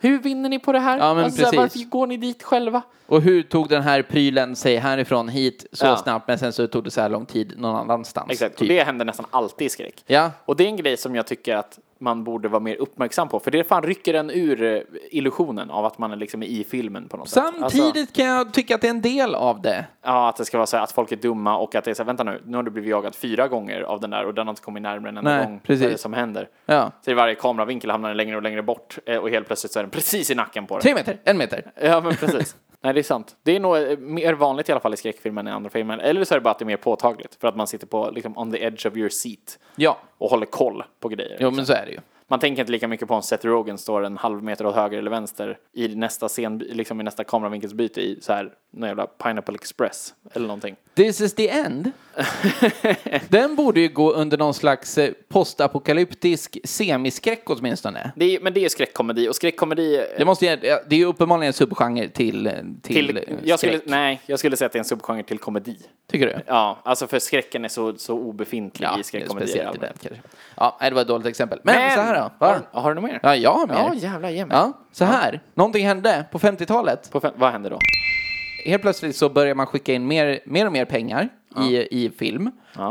Hur vinner ni på det här? Ja, men alltså, så här, precis. varför går ni dit själva? Och hur tog den här prylen sig härifrån hit så Ja. snabbt men sen så tog det så här lång tid någon annanstans? Exakt, och Typ. det händer nästan alltid i skräck. Ja. Och det är en grej som jag tycker att man borde vara mer uppmärksam på, för det fan rycker en ur eh, illusionen av att man är liksom i filmen på något sätt. Samtidigt Alltså, kan jag tycka att det är en del av det. ja, att det ska vara så här, att folk är dumma och att det är så här, vänta nu, nu har du blivit jagad fyra gånger av den där och den har inte kommit närmare en enda Nej, gång. precis. Vad är det som händer? Ja. Så i varje kameravinkel hamnar den längre och längre bort eh, och helt plötsligt så är den precis i nacken på dig. Tre meter, en meter. Ja, men precis. Nej, det är sant. Det är nog eh, mer vanligt i alla fall i skräckfilmer än i andra filmer. Eller så är det bara att det är mer påtagligt för att man sitter på liksom on the edge of your seat Ja, och håller koll på grejer. jo men så är det ju. Man tänker inte lika mycket på om Seth Rogen står en halv meter åt höger eller vänster i nästa scen, liksom i nästa kameravinkelsbyte i så här, någon jävla Pineapple Express eller någonting. This is the end. Den borde ju gå under någon slags eh, postapokalyptisk semiskräck åtminstone. Det är, men det är skräckkomedi och skräckkomedi eh, Det, måste, ju- ja, det är ju uppenbarligen en subgenre till, eh, till, till, eh, jag skulle, skräck. nej, jag skulle säga att det är en subgenre till komedi. Tycker du? Ja, alltså för skräcken är så, så obefintlig Ja, i det är skräckkomedier. i speciellt i den allmänhet. kanske. Ja, nej, det var ett dåligt exempel. Men, så här då. Va? Har, har du något mer? Ja, jag har mer. Ja, jävlar, ge mig. Ja, så här. Någonting hände på 50-talet. På fem, vad händer då? Helt plötsligt så börjar man skicka in mer, mer och mer pengar i, i film.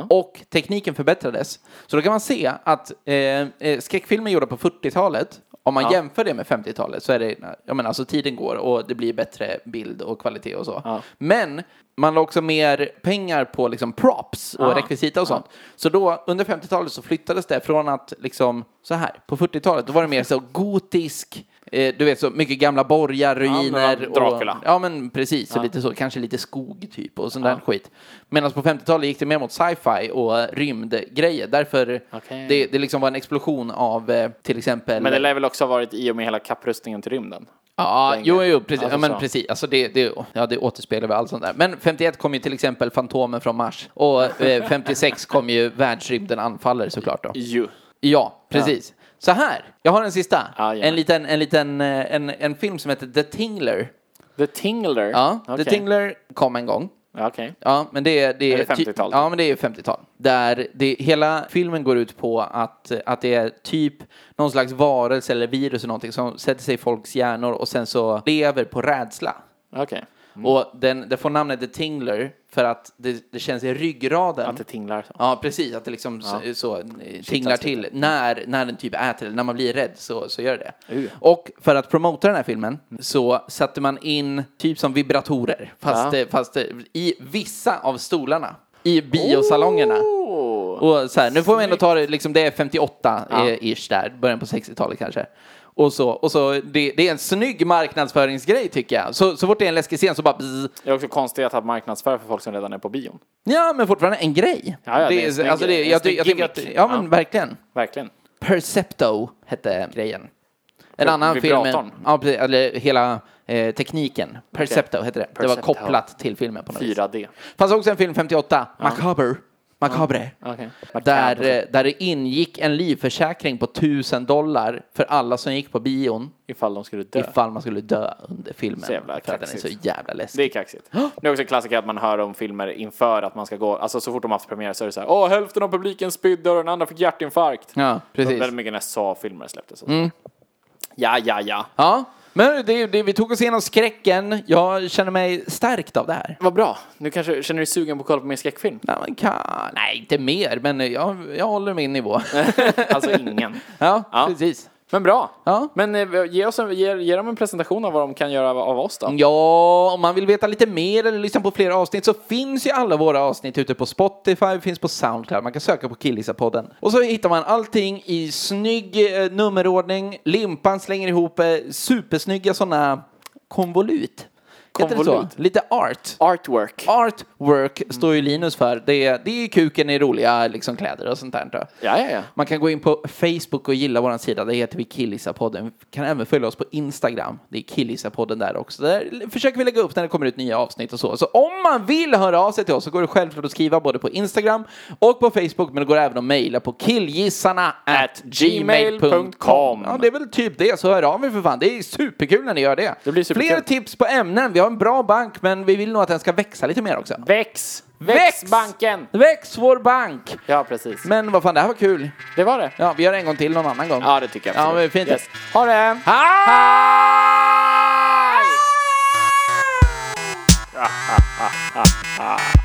Och tekniken förbättrades. Så då kan man se att eh, eh, skräckfilmer gjorda på 40-talet, om man jämför det med 50-talet så är det, jag menar alltså tiden går och det blir bättre bild och kvalitet och så. Men man la också mer pengar på liksom props och rekvisita och sånt. Så då under 50-talet så flyttades det från att liksom så här, på 40-talet då var det mer så gotisk, eh, du vet så mycket gamla borgar, ruiner. men Dracula. Och, Ja, men precis. så Lite så, kanske lite skog typ och sån där skit. Medan på 50-talet gick det mer mot sci-fi och eh, rymdgrejer. Därför Okej. det, det liksom var en explosion av eh, till exempel... Men det lär väl också ha varit i och med hela kapprustningen till rymden? ja, jo, jo, precis. Alltså ja, men så. precis. Alltså det, det, ja, det återspeglar väl allt sånt där. Men 51 kom ju till exempel Fantomen från Mars. Och eh, 56 kom ju Världsrymden anfaller såklart då. Ju. Ja, precis. Så här, jag har en sista. Ja, ja. en liten, en liten, eh, en, en film som heter The Tingler. The Tingler? Ja, Okej. The Tingler kom en gång. Ja, Okej. Ja, men det är... Det Är det ty- 50-tal? Ja, men det är 50-tal. Där det, hela filmen går ut på att, att det är typ någon slags varelse eller virus eller någonting som sätter sig i folks hjärnor och sen så lever på rädsla. Okej. Och den, den får namnet The Tingler för att det, det känns i ryggraden. Att det tinglar. så. Ja, precis. Att det liksom så, så eh, tinglar till när, när den typ äter eller när man blir rädd så, så gör det Uh. Och för att promota den här filmen så satte man in typ som vibratorer fast, Ja. eh, fast eh, i vissa av stolarna i biosalongerna. Oh. Och så här, nu får man ändå ta det, liksom, det är 58-ish där, början på 60-talet kanske. Och så, och så det, det är en snygg marknadsföringsgrej tycker jag. Så, så fort det är en läskig scen så bara bzz, Det är också konstigt att ha marknadsföra för folk som redan är på bion. Ja, men fortfarande en grej. Ja, ja, det är en det, snygg- är, alltså, det, en jag, snygg jag, jag tycker att, gimmick. ja, men Ja. verkligen. Verkligen. Percepto hette grejen. En annan film, vibratorn. ja, precis, eller hela eh, tekniken. Percepto hette det. Det var Percepto. kopplat till filmen på något vis. 4D. Fanns också en film 58, Macabre. Macabre. Okej. Där, eh, där det ingick en livförsäkring på 1000 dollar för alla som gick på bion Ifall de skulle dö. ifall man skulle dö under filmen. Så jävla för att den är så kaxigt. jävla Det är läskig. kaxigt. Det är också en klassiker att man hör om filmer inför att man ska gå, alltså så fort de har haft premiär så är det så här, åh hälften av publiken spydde och den andra fick hjärtinfarkt. Ja, precis. Mm. Väldigt mycket när SA-filmer släpptes. och så. Ja, ja, ja. Ja, men det, det, vi tog oss igenom skräcken. Jag känner mig stärkt av det här. Vad bra. Nu kanske, känner du dig sugen på att kolla på mer skräckfilm? Nej, man kan, nej inte mer, men jag, jag håller min nivå. Alltså ingen. ja, Ja. precis. Men bra. Ja. Men eh, ge, oss en, ge, ge dem en presentation av vad de kan göra av- av oss Mm. då. Ja, om man vill veta lite mer eller lyssna på fler avsnitt så finns ju alla våra avsnitt ute på Spotify, finns på Soundcloud, man kan söka på Killisa-podden. Och så hittar man allting i snygg eh, nummerordning, Limpan slänger ihop eh, supersnygga sådana konvolut. Heter det så? Konvolut? Lite art. Artwork. Artwork står Mm. ju Linus för. Det är, det är ju kuken i roliga liksom, kläder och sånt där. Tror jag. Ja, ja, ja. Man kan gå in på Facebook och gilla vår sida. Där heter vi Killisa-podden. Kan även följa oss på Instagram. Det är Killisa-podden där också. Där försöker vi lägga upp när det kommer ut nya avsnitt och så. Så om man vill höra av sig till oss så går det självklart att skriva både på Instagram och på Facebook. Men det går även att mejla på killgissarna At gmail.com. Ja, det är väl typ det. Så hör av er för fan. Det är superkul när ni gör det. Det blir superkul. Fler tips på ämnen. Vi har en bra bank, men vi vill nog att den ska växa lite mer också. Väx! Väx! Väx banken! Väx vår bank! Ja, precis. Men vad fan, det här var kul. Det var det. Ja, vi gör det en gång till någon annan gång. Ja, det tycker jag. Ja, men absolut. fint. Yes. Ha det! Hej! Hej!